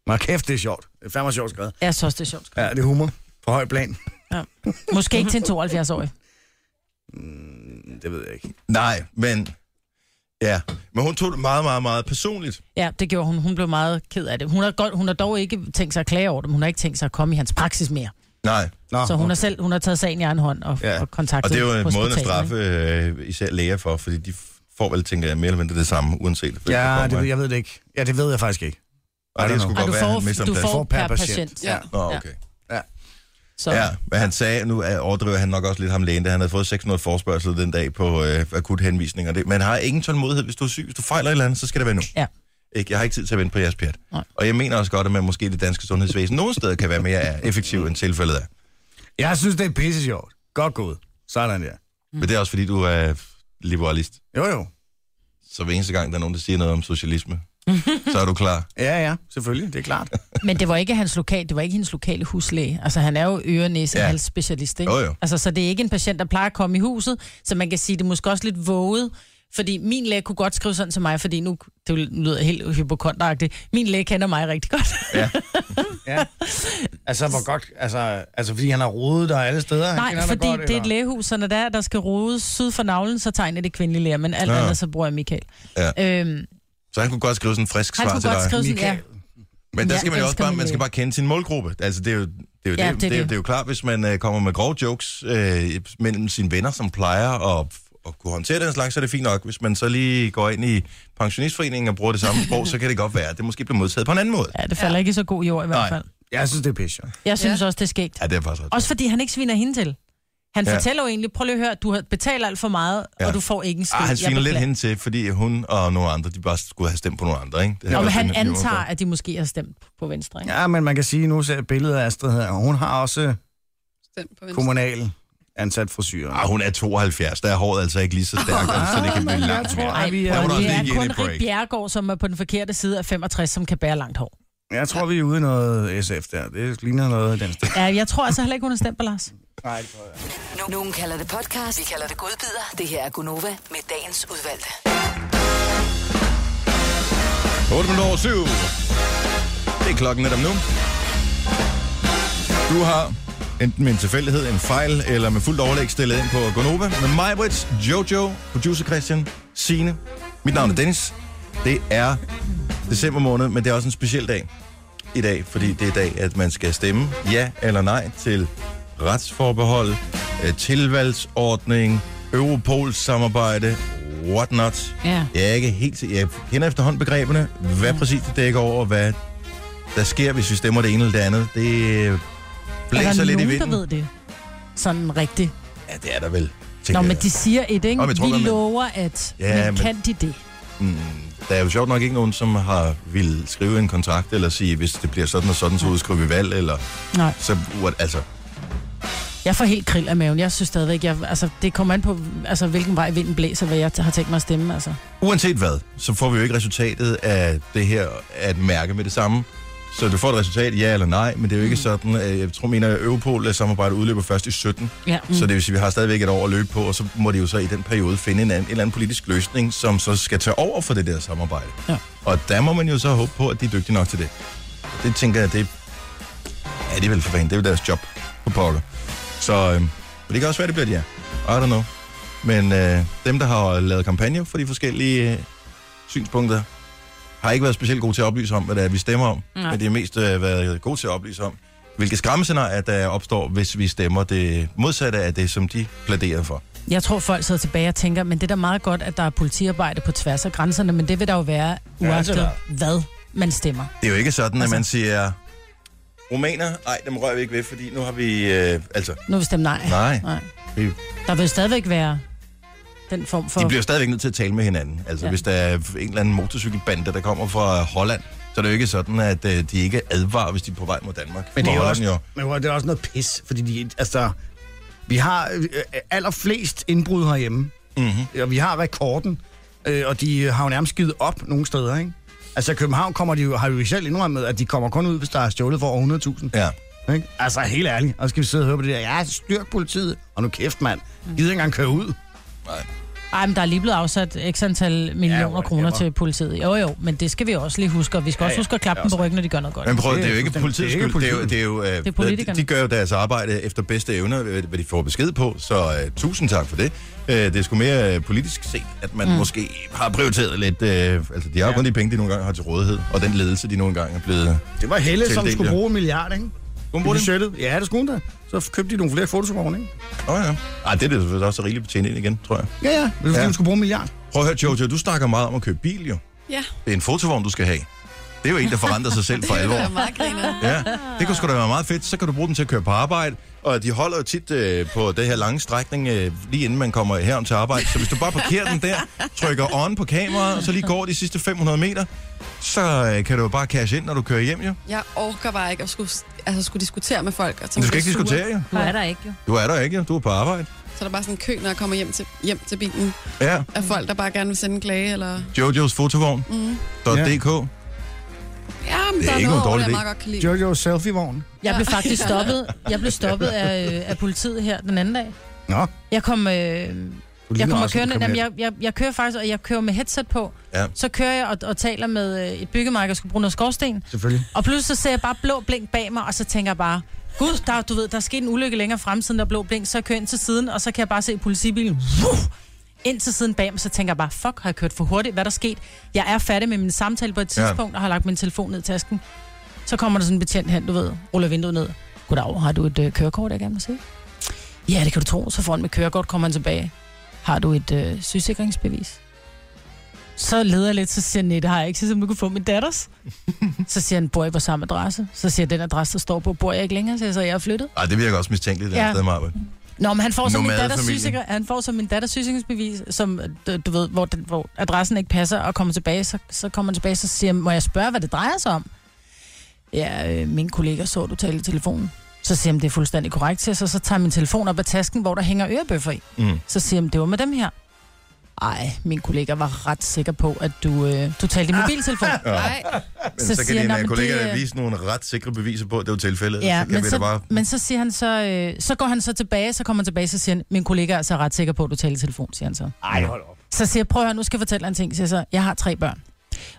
C: Men kæft, det er sjovt. Det er fandme sjovt skrevet.
D: jeg synes også, det er sjovt.
C: Ja, det er humor. På høj plan.
D: Måske ikke til en 72-årig.
C: Mm, Det ved jeg ikke.
A: Nej, men... Ja, men hun tog det meget, meget, meget personligt.
D: Ja, det gjorde hun. Hun blev meget ked af det. Hun har, godt, hun har dog ikke tænkt sig at klage over det. men Hun har ikke tænkt sig at komme i hans praksis mere.
A: Nej,
C: Nå,
D: Så hun har selv hun har taget sagen i egen hånd og,
A: Ah, Ja.
D: ja. og kontaktet
A: og det er jo en måde at
D: hospitalet,
A: straffe øh, især læger for, fordi de f- får vel, tænker jeg, mere eller mindre det samme, uanset. hvem der
C: Ja,
A: kommer.
C: det ved, jeg ved det ikke. Ja, det ved jeg faktisk ikke.
A: Ej,
C: I don't
A: det skulle
D: ikke? Og
A: godt
D: du
A: være, at han mister
D: får,
A: en
D: du
A: plads.
D: får per,
C: per patient.
D: patient.
E: Ja.
A: Nå, okay.
D: Så.
A: Ja, men han sagde, nu er- overdriver han nok også lidt ham lægen, da han havde fået 600 forspørgsel den dag på øh, akut henvisning. Og det, man har ingen tålmodighed, hvis du er syg. Hvis du fejler et eller andet, så skal det være nu.
D: Ja.
A: Ikke? Jeg har ikke tid til at vente på jeres pjat.
D: Nej.
A: Og jeg mener også godt, at man måske i det danske sundhedsvæsen nogle steder kan være mere effektiv, end tilfældet er.
D: Mm.
C: Jeg synes, det er pisse sjovt. Godt gået. Sådan der.
A: Men det er også fordi, du er liberalist.
C: Jo, jo.
A: Så hver eneste gang, der er nogen, der siger noget om
D: *laughs*
A: socialisme, så er du klar.
C: Ja, ja. Selvfølgelig. Det er klart.
D: Men det var ikke hans lokal, det var ikke hendes lokale huslæge. Altså han er jo øre, næse,
A: Ja.
D: ja. hals specialist, ikke?
A: Jo, jo.
D: Altså så det er ikke en patient, der plejer at komme i huset, så man kan sige, det er måske også lidt våget, fordi min læge kunne godt skrive sådan til mig, fordi nu, det lyder helt hypokonteragtigt, min læge kender mig rigtig godt.
A: *laughs*
C: Ja. Altså, hvor godt... Altså, altså fordi han har rodet dig alle steder. Han kender
D: Nej,
C: dig
D: fordi
C: godt,
D: det er et
C: eller?
D: lægehus, så når der, er, der skal rodes syd for navlen, så tegner det kvindelige læger, men alt
A: Ja.
D: ja. andet, så bruger jeg Michael.
A: Ja.
D: Øhm,
A: Så han kunne godt skrive sådan en frisk
D: han
A: svar
D: kunne
A: til dig.
D: godt skrive sådan, ja,
C: Michael.
A: Men der
D: Ja,
A: skal man jo
D: elsker
A: også bare,
D: min
A: man skal
D: læge.
A: bare kende sin målgruppe. Altså, det er jo, det er jo,
D: Ja,
A: det,
D: det er
A: det, er,
D: det.
A: det er jo klart, hvis man øh, kommer med grove jokes øh, mellem sine venner, som plejer at, at kunne håndtere den slags, så er det fint nok. Hvis man så lige går ind i pensionistforeningen og bruger det samme sprog, så kan det godt være, at det måske bliver modtaget på en anden måde.
D: ja, det falder ja. ikke i så god jord i hvert
A: Nej.
D: fald.
C: Jeg synes, det er pisse sjovt.
D: Jeg synes ja. også, det er skægt.
A: Ja, det er faktisk ret.
D: Også fordi han ikke sviner hende til. Han
A: Ja.
D: ja. fortæller jo egentlig, prøv lige at høre, du har betalt alt for meget,
A: Ja.
D: ja. og du får ikke en skid.
A: Ah, han
D: Jeg
A: sviner lidt
D: beklager.
A: hen til, fordi hun og nogle andre, de bare skulle have stemt på nogle andre, ikke? Det er
D: Nå, men
A: også
D: han
A: det, man
D: antager,
A: gjorde
D: at de måske har stemt på Venstre, ikke? Ja.
C: Ja, men man kan sige, nu ser jeg billedet af Astrid her, og hun har også
E: Stemt på venstre.
C: kommunal ansat frisyr.
A: for. Ah, hun er 72, der er håret altså ikke lige
D: *laughs*
A: så stærkt, så det kan blive
C: men Ah, jeg
A: langt
C: tror,
A: mere.
C: at vi er-
A: Der må du også
D: det
A: lige
D: er
A: give hende
D: kun
A: et break.
D: Rik Bjerregaard, som er på den forkerte side af 65, som kan bære langt hår.
C: Jeg tror, vi er ude i noget SF der. Det ligner noget af den stil.
D: Ja, jeg tror altså heller ikke, hun har stemt på Lars.
C: Nej, det tror jeg.
F: Nu- Nogen kalder det podcast, vi kalder det godbider. Det her er Gunova med dagens udvalgte.
A: 8 minutter over 7. Det er klokken netop nu. Du har enten med en tilfældighed, en fejl, eller med fuldt overlæg stillet ind på Gonova med mig, Brits, Jojo, producer Christian, Sine. Mit navn er Dennis. Det er december måned, men det er også en speciel dag i dag, fordi det er i dag, at man skal stemme ja eller nej til retsforbehold, øh, tilvalgsordning, Europols samarbejde, what not.
D: Ja.
A: Jeg er ikke helt sikker. Jeg kender efterhånden begreberne.
D: Mm.
A: Hvad præcis det dækker over, og hvad der sker, hvis vi stemmer det ene eller det andet. Det øh,
D: er
A: blæser
D: der
A: lidt i
D: nogen,
A: vinden.
D: der ved det? Sådan rigtigt.
A: Ja, det er der vel.
D: Nå,
A: tænker
D: men
A: jeg.
D: de siger et, ikke?
A: Nå, men jeg tror
D: vi
A: godt, man-
D: lover, at
A: Ja,
D: ja, men
A: men-
D: kan de det?
A: Mm, Der er jo sjovt nok ikke nogen, som har vil skrive en kontrakt, eller sige, hvis det bliver sådan og sådan, så udskriver vi valg, eller
D: Nej.
A: så... What, altså,
D: Jeg får helt krill af maven. Jeg synes stadigvæk, jeg, altså, det kommer an på, altså, hvilken vej vinden blæser, hvad jeg t- har tænkt mig at stemme. Altså.
A: uanset hvad, så får vi jo ikke resultatet af det her at mærke med det samme. Så du får et resultat, ja eller nej, men det er jo ikke
D: Mm.
A: sådan, øh, jeg tror, mener, at Europol samarbejde udløber først i 17,
D: Ja,
A: mm. så det vil sige, at vi har stadigvæk et år at løbe på, og så må de jo så i den periode finde en anden, en eller anden politisk løsning, som så skal tage over for det der samarbejde.
D: Ja.
A: Og der må man jo så håbe på, at de er dygtige nok til det. Det tænker jeg, det ja, det er vel for fanden, det er jo deres job på pokker. Så øh, det kan også være, det bliver det, ja. I don't know. Men øh, dem, der har lavet kampagne for de forskellige øh, synspunkter, har ikke været specielt gode til at oplyse om, hvad det er, vi stemmer om.
B: Nej.
A: Men de har mest øh, været gode til at oplyse om, hvilke skræmmescenarier, der opstår, hvis vi stemmer det modsatte af det, som de pladerer for.
D: Jeg tror, folk sidder tilbage og tænker, men det er da meget godt, at der er politiarbejde på tværs af grænserne, men det vil der jo være,
C: Ja, det er
D: uagtet
C: der.
D: hvad man stemmer.
A: Det er jo ikke sådan, altså,
D: Altså-
A: at man siger, romaner, nej, dem rører vi ikke ved, fordi nu har vi, øh, altså,
D: Nu vil stemme nej.
A: nej,
D: nej.
A: Det-
D: Der vil jo stadigvæk være den form for...
A: de bliver jo stadigvæk nødt til at tale med hinanden. Altså, ja.
D: Ja.
A: hvis der er en eller anden motorcykelbande, der kommer fra Holland, så er det jo ikke sådan, at øh, de ikke advarer, hvis de er på vej mod Danmark.
G: Men det
A: Hvor
G: er jo
A: Holland
G: også, men det er også noget pis, fordi de, altså, vi har øh, allerflest indbrud herhjemme,
A: Mhm,
G: mm-hmm. og vi har rekorden, øh, og de har jo nærmest givet op nogle steder, ikke? Altså, København kommer de jo, har jo selv indrømmet, at de kommer kun ud, hvis der er stjålet for over 100.000.
A: Ja.
G: Ikke? Altså, helt ærligt. Og så skal vi sidde og høre på det der. Ja, styrk politiet. Og nu kæft, mand. Gider ikke engang køre ud.
D: Ej, men der er lige blevet afsat x antal millioner
G: whatever.
D: ja, kroner til politiet. Jo, jo, men det skal vi også lige huske, og vi skal ja, også huske at klappe dem på ryggen, når de gør noget godt.
A: Men prøv, det er jo
G: Det er
A: ikke
G: fuldstændig-
A: politiets
G: det er
A: skyld.
G: ikke
A: Det er jo, det er jo, øh,
D: er politikerne.
A: de, de gør jo deres arbejde efter bedste evner, øh, hvad hvad de får besked på, så øh, tusind tak for det. Øh, det er sgu mere øh, politisk set, at man mm. måske har prioriteret lidt. Øh, altså, de har jo kun de penge, de nogle gange har til rådighed, og den ledelse, de nogle gange er blevet...
G: Det var Helle, som
A: Tildelt,
G: skulle
A: ja.
G: bruge en milliard, ikke?
A: Hun
G: Bruge
A: bruger
G: det budgettet. Ja, det skulle hun da. Så købte de nogle flere fotovogne, ikke?
A: Åh oh, ja. Ej, det er det selvfølgelig også rigeligt betjent ind igen, tror jeg.
G: Ja, ja. Det var, fordi
A: Ja.
G: hun skulle bruge en milliard.
A: Prøv at høre, Jojo, du snakker meget om at købe bil, jo.
E: Ja,
A: Det er en fotovogn, du skal have. Det er jo en, der forandrer sig selv for
E: *laughs* det
A: alvor.
E: er meget griner.
A: Ja, det kunne sgu da være meget fedt. Så kan du bruge den til at køre på arbejde. Og de holder jo tit øh, på det her lange strækning, øh, lige inden man kommer herom til arbejde. Så hvis du bare parkerer den der, trykker on på kameraet, og så lige går de sidste 500 meter, så øh, kan du jo bare cash ind, når du kører hjem, jo.
E: Jeg orker bare ikke at skulle, altså, skulle diskutere med folk. Og så
A: Men du skal
E: bliver
A: ikke
E: sure.
A: diskutere, jo.
B: Du er der ikke, jo.
A: Du er der ikke, jo. Du er på arbejde.
E: Så er der bare sådan en kø, når jeg kommer hjem til, hjem til bilen.
A: Ja,
E: Af folk, der bare gerne vil sende en klage, eller...
A: Jojos fotovogn.
D: Mm.
A: .dk.
E: Ja, men
A: Det er
E: der er
A: ikke nogen
E: noget over,
A: dårlig
E: det, jeg
A: idé.
E: meget godt kan lide.
G: Jojo selfie-vogn.
D: Jeg blev faktisk stoppet, jeg blev stoppet af, øh, af politiet her den anden dag.
G: Nå.
D: Jeg kom, øh,
G: Du ligner
D: jeg kommer
G: også en
D: kørende,
G: kriminel.
D: jamen, jeg, jeg, jeg kører faktisk, og jeg kører med headset på.
A: Ja.
D: Så kører jeg og, og taler med øh, et byggemarked, og skal bruge noget skorsten.
G: Selvfølgelig.
D: Og pludselig så ser jeg bare blå blink bag mig, og så tænker jeg bare, gud, der, du ved, der er sket en ulykke længere frem, siden der er blå blink, så kører jeg ind til siden, og så kan jeg bare se politibilen, wuh, ind til siden bag mig, så tænker jeg bare, fuck, har jeg kørt for hurtigt, hvad er der sket? Jeg er færdig med min samtale på et
A: Ja.
D: tidspunkt, og har lagt min telefon ned i tasken. Så kommer der sådan en betjent hen, du ved, ruller vinduet ned. Goddag, har du et øh, kørekort, jeg gerne vil se? Ja, det kan du tro. Så får han med kørekort, kommer han tilbage. Har du et øh, sygesikringsbevis? Så leder jeg lidt, så siger han, "Nej, det har jeg ikke, så du kunne få min datters. så siger han, bor I på samme adresse? Så siger jeg, den adresse, der står på, bor jeg ikke længere? Så jeg, så jeg er flyttet.
A: Ej, det virker også mistænkeligt, det ja.
D: Ja.
A: sted, Marbe.
D: Nå, men han får så min
A: Nomadefamilie.
D: datters sygesikring, han får så min datters sygesikringsbevis, som øh, du, du ved, hvor, den, hvor adressen ikke passer, og kommer tilbage, så, så kommer han tilbage, så siger han, må jeg spørge, hvad det drejer sig om? Ja, øh, min kollega så, du tale i telefonen. Så siger han, det er fuldstændig korrekt til, så, så tager jeg min telefon op af tasken, hvor der hænger ørebøffer i.
A: Mm.
D: Så siger han, det var med dem her. Ej, min kollega var ret sikker på, at du, øh, du talte i mobiltelefon.
E: Nej,
A: Men
D: Så
A: så, så kan
D: siger
A: dine
D: jeg, "Nå, men
A: kollegaer
D: det,
A: det...
D: øh,
A: vise nogle ret sikre beviser på, at det var tilfældet.
D: Ja,
A: så kan
D: men
A: vi
D: så,
A: da bare...
D: men så siger han så, øh, så går han så tilbage, så kommer han tilbage, så siger han, min kollega er altså ret sikker på, at du taler i telefon, siger han så.
G: Ej, hold op.
D: Så siger jeg, prøv at høre, nu skal jeg fortælle dig en ting. Siger jeg så, jeg har tre børn.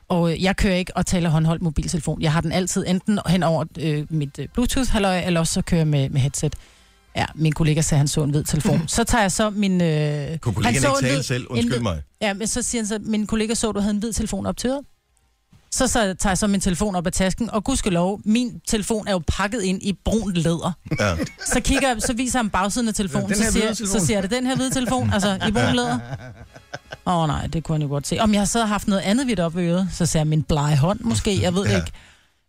D: Og øh, jeg kører ikke og taler håndholdt mobiltelefon. Jeg har den altid enten hen over øh, mit øh, Bluetooth-halløj, eller også så kører jeg med, med headset. Ja, min kollega sagde, at han så en
A: *laughs*
D: hvid telefon. Så tager jeg så min... Øh,
A: Kunne kollegaen
D: så
A: ikke
D: en
A: tale
D: hvid-
A: selv?
D: en
A: Undskyld
D: hvid-
A: mig.
D: ja, men så siger han så, min kollega så, at du havde en hvid telefon op til øret. Så, så tager jeg så min telefon op af tasken, og gudskelov, min telefon er jo pakket ind i brunt læder.
A: Ja.
D: Så kigger jeg, så viser han bagsiden af telefonen,
G: Den her
D: så siger,
G: hvide telefon.
D: så siger jeg, det er den her hvide telefon, altså i brun læder. Åh oh, nej, det kunne han jo godt se. Om jeg så havde haft noget andet vidt op i øret, så sagde jeg min blege hånd måske, jeg ved
A: Ja.
D: ja. ikke.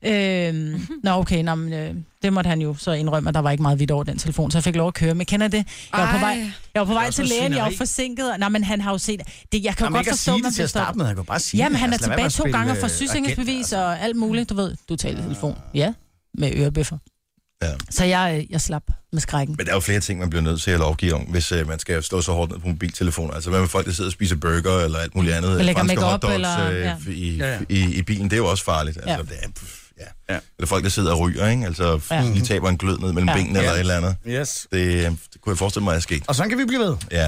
D: Øhm, nå okay, nå, men, øh, det måtte han jo så indrømme, at der var ikke meget vidt over den telefon, så jeg fik lov at køre. Men kender I det? Jeg var på
E: Ej.
D: vej, jeg var på vej
G: også
D: til
G: noget
D: lægen, jeg var
G: svineri.
D: forsinket. og- Nej, men han har jo set... Det, jeg kan
G: Nå,
D: jo
G: men
D: godt
G: ikke at
D: forstå,
G: sige
D: man
G: det til
D: bliver
G: at starte
D: stoppet.
G: med. Han kan bare sige
D: Jamen,
G: det.
D: han er
G: Altså, lad være med
D: tilbage
G: at spille,
D: to gange og får
G: øh, agent,
D: sygesikringsbevis
G: altså.
D: og alt muligt, du ved. Du taler i telefon. Ja, med ørebøffer.
A: Ja.
D: Så jeg, øh, jeg slap med skrækken.
A: Men der er jo flere ting, man bliver nødt til at lovgive om, hvis øh, man skal stå så hårdt ned på mobiltelefoner. Altså, hvad med folk, der sidder og spiser burger eller alt muligt andet?
D: Eller lægger
A: franske
D: makeup,
A: hotdogs,
D: eller-
A: øh,
D: ja.
A: i,
G: Ja, ja.
A: I, i bilen, det er jo også farligt. Altså,
D: Ja.
A: det er, pff, ja.
G: Ja.
A: Eller folk, der sidder og ryger, ikke? Altså,
D: Ja.
A: ja. lige taber en glød ned mellem ja.
D: Ja.
A: benene eller
G: Ja.
A: et eller andet.
G: Yes.
A: Det, øh, det kunne jeg forestille mig, at sket.
G: Og sådan kan vi blive ved.
A: Ja.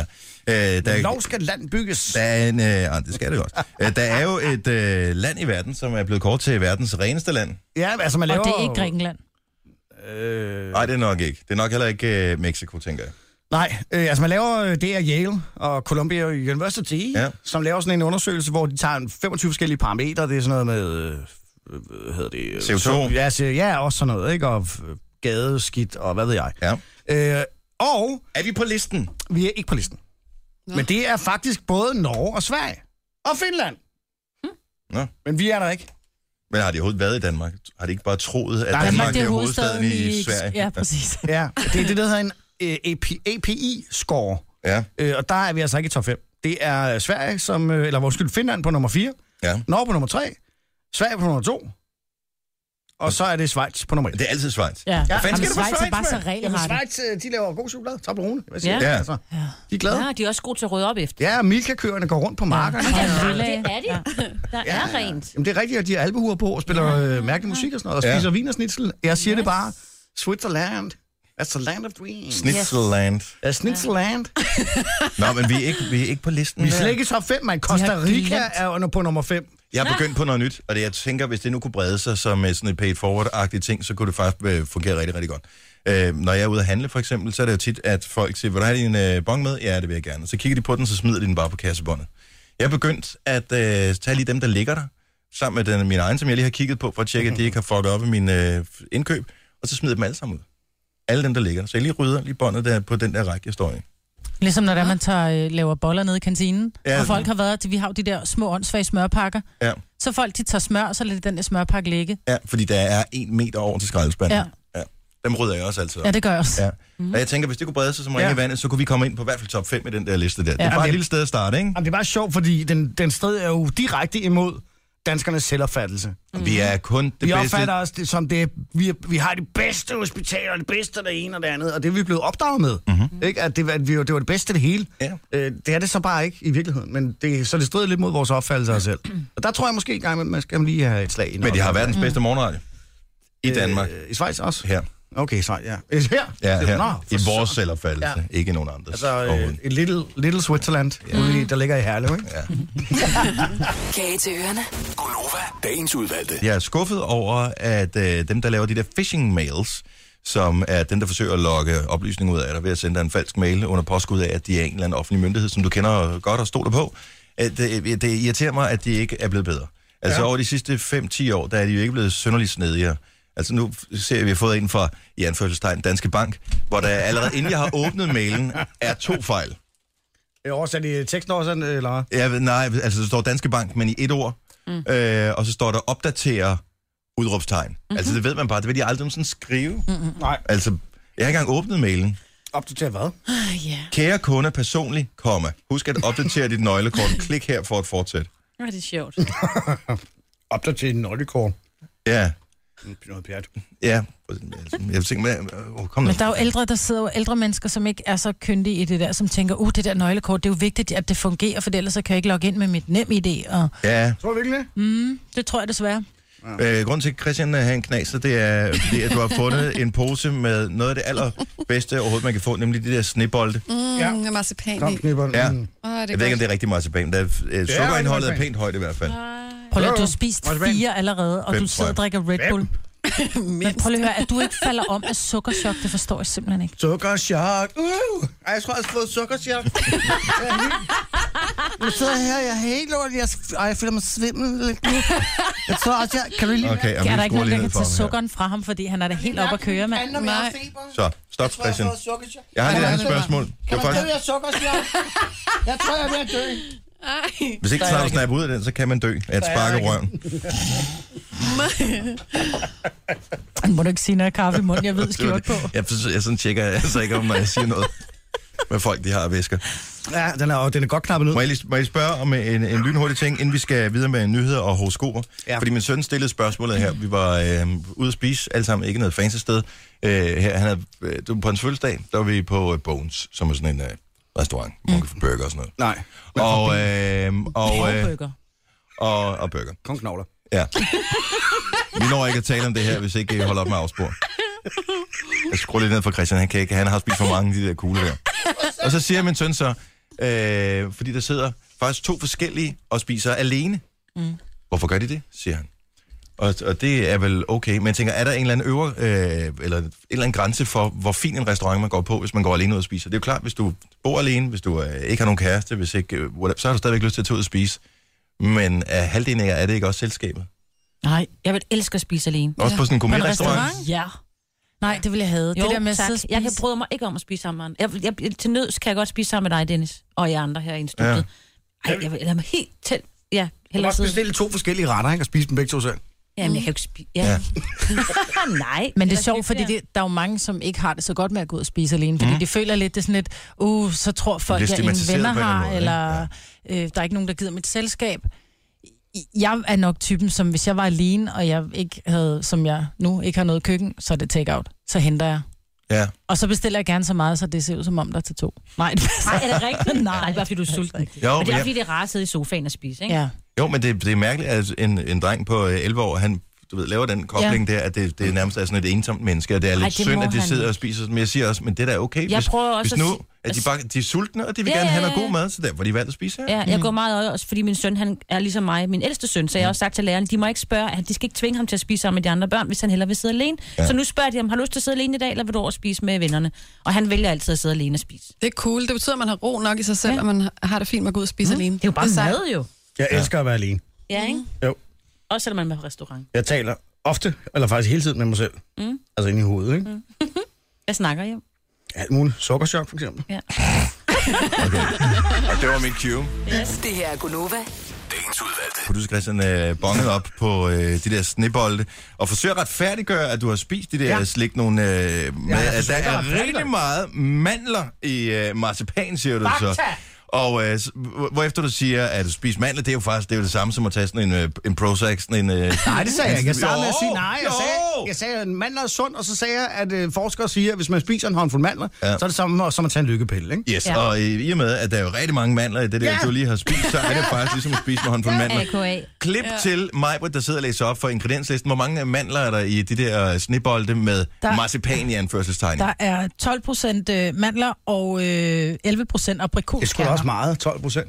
A: Øh, der,
G: Lov skal land bygges.
A: Der er en, øh, ah, det skal det godt. Øh, der er jo et øh, land i verden, som er blevet kort til verdens reneste land.
G: Ja, altså man laver...
D: Og det er ikke Grækenland.
G: Øh,
A: Nej, det er nok ikke. Det er nok heller ikke øh, Mexico, tænker jeg.
G: nej, øh, altså man laver, øh, det er Yale og Columbia University,
A: Ja.
G: ja. som laver sådan en undersøgelse, hvor de tager en 25 forskellige parametre. Det er sådan noget med, øh, hvad hedder det? øh,
A: CO2.
G: så- Ja, så, ja, også sådan noget, ikke? Og øh, skadeskidt og hvad ved jeg.
A: Ja.
G: Øh, og
A: Er vi på listen?
G: vi er ikke på listen.
E: Nå.
G: Men det er faktisk både Norge og Sverige. Og Finland. Hm.
A: Nå.
G: Men vi er der ikke.
A: Men har de overhovedet været i Danmark? Har de ikke bare troet, at Danmark,
G: Danmark,
A: Danmark er hovedstaden i Sverige?
D: Ja, præcis.
G: Ja, det er det, der hedder en øh, AP, API-score.
A: Ja,
G: Øh, og der er vi altså ikke i top 5. Det er øh, Sverige, som, øh, eller vores skyld, Finland på nummer 4,
A: ja.
G: Norge på nummer 3, Sverige på nummer 2, og så er det Schweiz på nummer altså
A: Det
G: 1.
A: er altid Schweiz. Hvad
D: Ja.
A: fanden
D: Jamen,
A: skal du på
D: Schweiz er
A: Schweiz,
D: bare så
A: mand?
D: regelret.
G: Schweiz, øh, de laver god chokolade. Toblerone. Hvad siger
B: Ja.
G: du?
A: Ja.
G: Altså, de er glade.
B: Ja, de er også gode til at rydde op efter.
G: Ja, Milka-køerne går rundt på markerne.
B: Ja,
D: Ja.
B: det er de. Der er rent.
G: Jamen, det er rigtigt, at de har albuer på og spiller øh, mærkelig musik og sådan noget, og
A: Ja.
G: spiser vinersnitzel. Jeg siger yes. det bare. Switzerland. That's the land of dreams.
A: Snitzelland.
G: Ja, Snitzelland.
A: Nå, men vi er ikke, vi er ikke på listen.
G: Vi er
A: der.
G: slet ikke i top 5, man. Costa
D: har
G: Rica
D: glemt.
G: er under på nummer 5.
A: Jeg er begyndt på noget nyt, og det, jeg tænker, hvis det nu kunne brede sig som øh, sådan et paid forward-agtigt ting, så kunne det faktisk øh, fungere rigtig, rigtig godt. Øh, når jeg er ude at handle, for eksempel, så er det jo tit, at folk siger, vil du have din øh, bong med? Ja, det vil jeg gerne. Så kigger de på den, så smider de den bare på kassebåndet. Jeg er begyndt at øh, tage lige dem, der ligger der, sammen med den, min egen, som jeg lige har kigget på, for at tjekke, at de ikke har fucket op i min øh, indkøb, og så smider dem alle sammen ud. Alle dem, der ligger der. Så jeg lige rydder lige båndet der på den der række, jeg står i.
D: Ligesom når der man tager, øh, laver boller nede i kantinen,
A: Ja.
D: ja. og folk har været til, vi har jo de der små åndssvage smørpakker,
A: Ja,
D: så folk de tager smør, og så lader de den der smørpakke ligge.
A: ja fordi der er en meter over til skraldespanden.
D: Ja.
A: ja. Dem rydder jeg også altid op.
D: Ja, det gør jeg også.
A: Ja. Mm-hmm. Og jeg tænker, hvis det kunne brede sig som ringe
G: Mm. Ja.
A: i vandet, så kunne vi komme ind på i hvert fald top 5 i den der liste der. Det
D: Ja.
A: er bare et
G: Jamen,
A: lille sted at starte, ikke?
G: Jamen, det er bare sjovt, fordi den, den strid er jo direkte imod danskernes selvopfattelse. Det
A: Vi er kun det
G: Mm. vi
A: bedste.
G: opfatter os det, som det, vi, vi har de bedste hospitaler, det bedste det ene og det andet, og det er vi blevet opdraget med. Mm-hmm. Ikke? At, det, at vi, det var det bedste af det hele.
A: Mhm. Ja.
G: Øh, det er det så bare ikke i virkeligheden, men det, så det strider lidt mod vores opfattelse af
A: *clears throat*
G: os selv. Og der tror jeg måske engang, at man skal lige have et slag ind.
A: Men de har verdens bedste morgenradio. I Danmark.
G: Mm. Øh, I Schweiz også?
A: Her.
G: Okay, så ja. *laughs* Øh, Her?
A: Ja,
G: Det-
A: her.
G: Nå, for
A: I vores
G: søren.
A: selvopfattelse. Ja. Ikke nogen andres.
G: Altså,
A: overhovedet.
G: øh, et little, little Switzerland, ude i, der ligger i Herlev, ikke?
A: Ja.
F: Kage til ørerne.
H: Gonova, dagens udvalgte.
A: Jeg er skuffet over, at øh, dem, der laver de der phishing mails, som er dem, der forsøger at lokke oplysninger ud af dig ved at sende dig en falsk mail under påskud af, at de er en eller anden offentlig myndighed, som du kender godt og stoler på. At, øh, det, det irriterer mig, at de ikke er blevet bedre. Altså ja. over de sidste 5-10 år, der er de jo ikke blevet synderligt snedigere. Altså nu ser jeg, at vi har fået en fra, i anførselstegn, Danske Bank, hvor der allerede inden jeg har åbnet mailen, er to fejl.
G: Øh, Oversat i teksten også, eller hvad?
A: Jeg ved, nej, altså der står Danske Bank, men i et ord. Mm. Øh, og så står der opdaterer udråbstegn.
D: Mhm.
A: Mm-hmm. Altså det ved man bare, det vil de aldrig sådan skrive.
D: Mm.
A: Mm-hmm.
G: Nej.
A: Altså, jeg har ikke engang åbnet mailen.
G: Opdateret hvad?
A: Kære kunder personligt, komma. Husk at opdatere dit nøglekort. Klik her for at fortsætte.
B: Ja, det er sjovt.
G: Opdateret en nøglekort.
A: Ja,
G: Mm, Noget pjat.
A: ja. Altså, Jeg tænker, men, åh, kom nu.
D: Men der er jo ældre, der sidder jo ældre mennesker, som ikke er så kyndige i det der, som tænker, uh, det der nøglekort, det er jo vigtigt, at det fungerer, for ellers så kan jeg ikke logge ind med mit nem idé. Og
A: Ja,
G: Tror du virkelig det?
A: Mm.
D: det tror jeg desværre.
A: Øh, grunden til, at Christian øh, har en knaser, det er, fordi, at du har fundet en pose med noget af det allerbedste overhovedet, man kan få, nemlig de der snibolde. Mm.
G: Ja.
E: Mm, med marcipan
G: Kom,
E: i.
G: knipper.
A: Ja.
G: Mm.
E: Åh, det er
A: Jeg ved ikke, om
E: godt.
A: det er rigtig meget tilbage, men der, er, øh, sukkerindholdet er
G: marcipan.
A: pænt højt i hvert fald.
D: Prøv lige, at- du har
G: Jo,
D: spist
G: marcipan.
D: fire allerede, og
A: Fem,
D: du sidder og
A: tror
D: drikker Red
A: *laughs*
D: Bull. Men prøv lige at høre, at du ikke falder om af sukkerchok, det forstår jeg simpelthen ikke.
G: Sukkerchok. Uh! Ej, jeg tror, jeg har fået sukkerchok. Jeg er ny. Nu sidder jeg her, jeg er helt lort. Jeg, ej, jeg føler mig svimmel lidt nu. Jeg tror også, jeg... Kan du lige...
A: Okay, og
D: Er
A: vi
D: der ikke
A: skruer
D: nogen,
A: lige
D: der
A: ned
D: kan
A: for
D: tage
A: ham her.
D: sukkeren fra ham, fordi han er da helt op at køre, mand?
E: Nej.
A: Så, stop, Christian.
G: sukkerchok.
A: Jeg har lige et
G: Kan
A: andet
G: man-
A: spørgsmål. Det var faktisk,
G: af sukkerchok? Jeg tror, jeg er ved at dø.
A: hvis ikke snart du snapper ud af den, så kan man dø af et
G: Der er
A: spark i
G: ikke-
A: røven.
D: Han må du ikke sige noget kaffe i munden, jeg ved skjort på.
A: Jeg, jeg sådan tjekker altså ikke, om når jeg siger noget med folk, de har af væsker.
G: Ja, den er, den er godt knappet ud.
A: Må jeg, lige, må jeg spørge om en, en lynhurtig ting, inden vi skal videre med nyheder og horoskoper? Ja.
G: Ja.
A: Fordi min søn stillede spørgsmålet her. Vi var øh, ude at spise, alle sammen ikke noget fancy sted. Øh, her, han havde, øh, det var på hans fødselsdag, der var vi på øh, Bones, som er sådan en øh, restaurant, hvor man kan få burger og sådan noget.
G: Nej.
A: Og, øh, og, øh,
D: Havebøger.
A: og, og burger.
G: Kong Knogler.
A: Ja. Vi når ikke at tale om det her, hvis ikke I holder op med afspor. Jeg skruer lidt ned for Christian, han, kan ikke, han har spist for mange af de der kugler der. Og så siger min søn så, øh, fordi der sidder faktisk to forskellige og spiser alene. Mm. Hvorfor gør de det, siger han. Og, og det er vel okay, men jeg tænker, er der en eller anden øver, øh, eller en eller anden grænse for, hvor fin en restaurant man går på, hvis man går alene ud og spiser? Det er jo klart, hvis du bor alene, hvis du øh, ikke har nogen kæreste, hvis ikke, øh, whatever, så har du stadigvæk lyst til at tage ud og spise. Men øh, halvdelen af jer, er det ikke også selskabet?
B: Nej, jeg vil elske at spise alene.
A: Også på sådan en
D: På en
A: gourmetrestaurant?
D: restaurant? Ja. Nej, det ville jeg have.
B: Jo,
D: det der med at
B: tak.
D: sidde og spise.
B: Jeg kan bryde mig ikke om at spise sammen med andre. Jeg, jeg, til nøds kan jeg godt spise sammen med dig, Dennis, og jer andre her i studiet. Ja. Ej, jeg, vil- lad mig helt tæt. Ja,
G: Du kan
B: hellere
G: også
B: sidde.
G: bestille to forskellige retter, ikke? Og spise dem begge to selv.
B: Jamen, jeg kan jo ikke spise. Ja. ja. *laughs* Nej.
D: Men det er sjovt, fordi det, der er jo mange, som ikke har det så godt med at gå ud og spise alene, fordi mm. de føler lidt, det er sådan lidt, uh, så tror folk,
A: Det er
D: jeg ingen
A: stigmatiseret
D: venner
A: på en eller
D: har,
A: anden måde,
D: eller øh, der er ikke nogen, der gider mit selskab. I- Jeg er nok typen, som hvis jeg var alene, og jeg ikke havde, som jeg nu, ikke har noget køkken, så er det take-out. Så henter jeg.
A: Ja.
D: Og så bestiller jeg gerne så meget, så det ser ud som om, der er til to. Nej, det passer.
B: Nej, er det rigtigt?
D: Nej. Altså
B: Nej, det er bare fordi, du er sulten. Men
A: Jo,
B: det er
A: men
B: også
A: jeg,
B: fordi, det er rart at sidde i sofaen og spise, ikke?
D: Ja.
A: jo, men det, det er mærkeligt, at en, en dreng på øh, 11 år, han du ved, laver den kobling der, at det, det nærmest er sådan et ensomt menneske, og det er lidt
B: Ej,
A: Ej,
B: det
A: synd,
B: må
A: at de
B: han
A: sidder
B: ikke.
A: og spiser, men jeg siger også, men det er da okay,
B: Jeg
A: hvis,
B: prøver også
A: hvis
B: at
A: nu,
B: si-
A: at de,
B: at
A: bare, de er sultne, og de vil
B: Ja,
A: gerne have
B: ja,
A: noget
B: ja.
A: god mad, så derfor de valgt at spise her.
B: Ja, jeg går meget øje også, fordi min søn han er ligesom mig, min ældste søn, så jeg har også sagt til læreren, de må ikke spørge, at de skal ikke tvinge ham til at spise sammen med de andre børn, hvis han hellere vil sidde alene. Ja. Så nu spørger de ham, har du lyst til at sidde alene i dag, eller vil du over og spise med vennerne? Og han vælger altid at sidde alene og spise.
E: Det er cool. Det betyder, at man har ro nok i sig selv, ja. og man har det fint med at gå ud og spise mm. alene.
B: Det er jo bare
E: sejt.
B: mad jo.
C: Jeg elsker at være alene.
B: Altså- Ja, ikke?
G: Mm.
C: Jo.
B: Også selvom man er på restaurant.
C: Jeg taler ofte, eller faktisk hele tiden med mig selv. Mm. Altså inde i hovedet, ikke? Mm.
B: Hvad snakker I om?
C: Alt muligt. Sukkerchok, for eksempel.
H: Og det var min cue.
F: Det her er Gunova.
H: Dagens udvalgte.
A: Producer Christian øh, bongede op på øh, de der snebolde, og forsøger at retfærdiggøre, at du har spist de der ja. slik nogle... Øh, med,
C: jeg
A: at der
C: forsøger at
A: er
C: retfærdiggøre
A: rigtig
C: det.
A: meget mandler i øh, marcipan, siger du så. Og øh, s- hvor- hvorefter du siger, at du spiser mandler, det er jo faktisk det, er jo det samme som at tage sådan en, øh, en Prozac, sådan en... Øh,
G: Nej, det sagde jeg ikke. Jeg startede med at sige
A: Jo,
G: nej. Jeg
A: jo.
G: sagde, jeg sagde, at mandler er sund, og så sagde jeg, at øh, forskere siger, at hvis man spiser en håndfuld mandler, ja. så er det samme som at tage en lykkepille, ikke?
A: Yes, ja.
B: Ja.
A: og i, i og med, at der er jo rigtig mange mandler i det der, ja.
G: Ja.
A: du lige har spist, så er
G: *laughs*
A: det faktisk ligesom at spise med håndfuld mandler.
B: AKA.
A: Klip ja. til Majbert, der sidder og læser op for ingredienslisten. Hvor mange mandler er der i de der øh, snebolde med der,
D: Der-
A: marcipan i anførselstegn?
D: Der er 12 procent mandler og øh, 11 procent
C: Det skulle da
D: aprikoskerner.
C: også meget, 12 procent.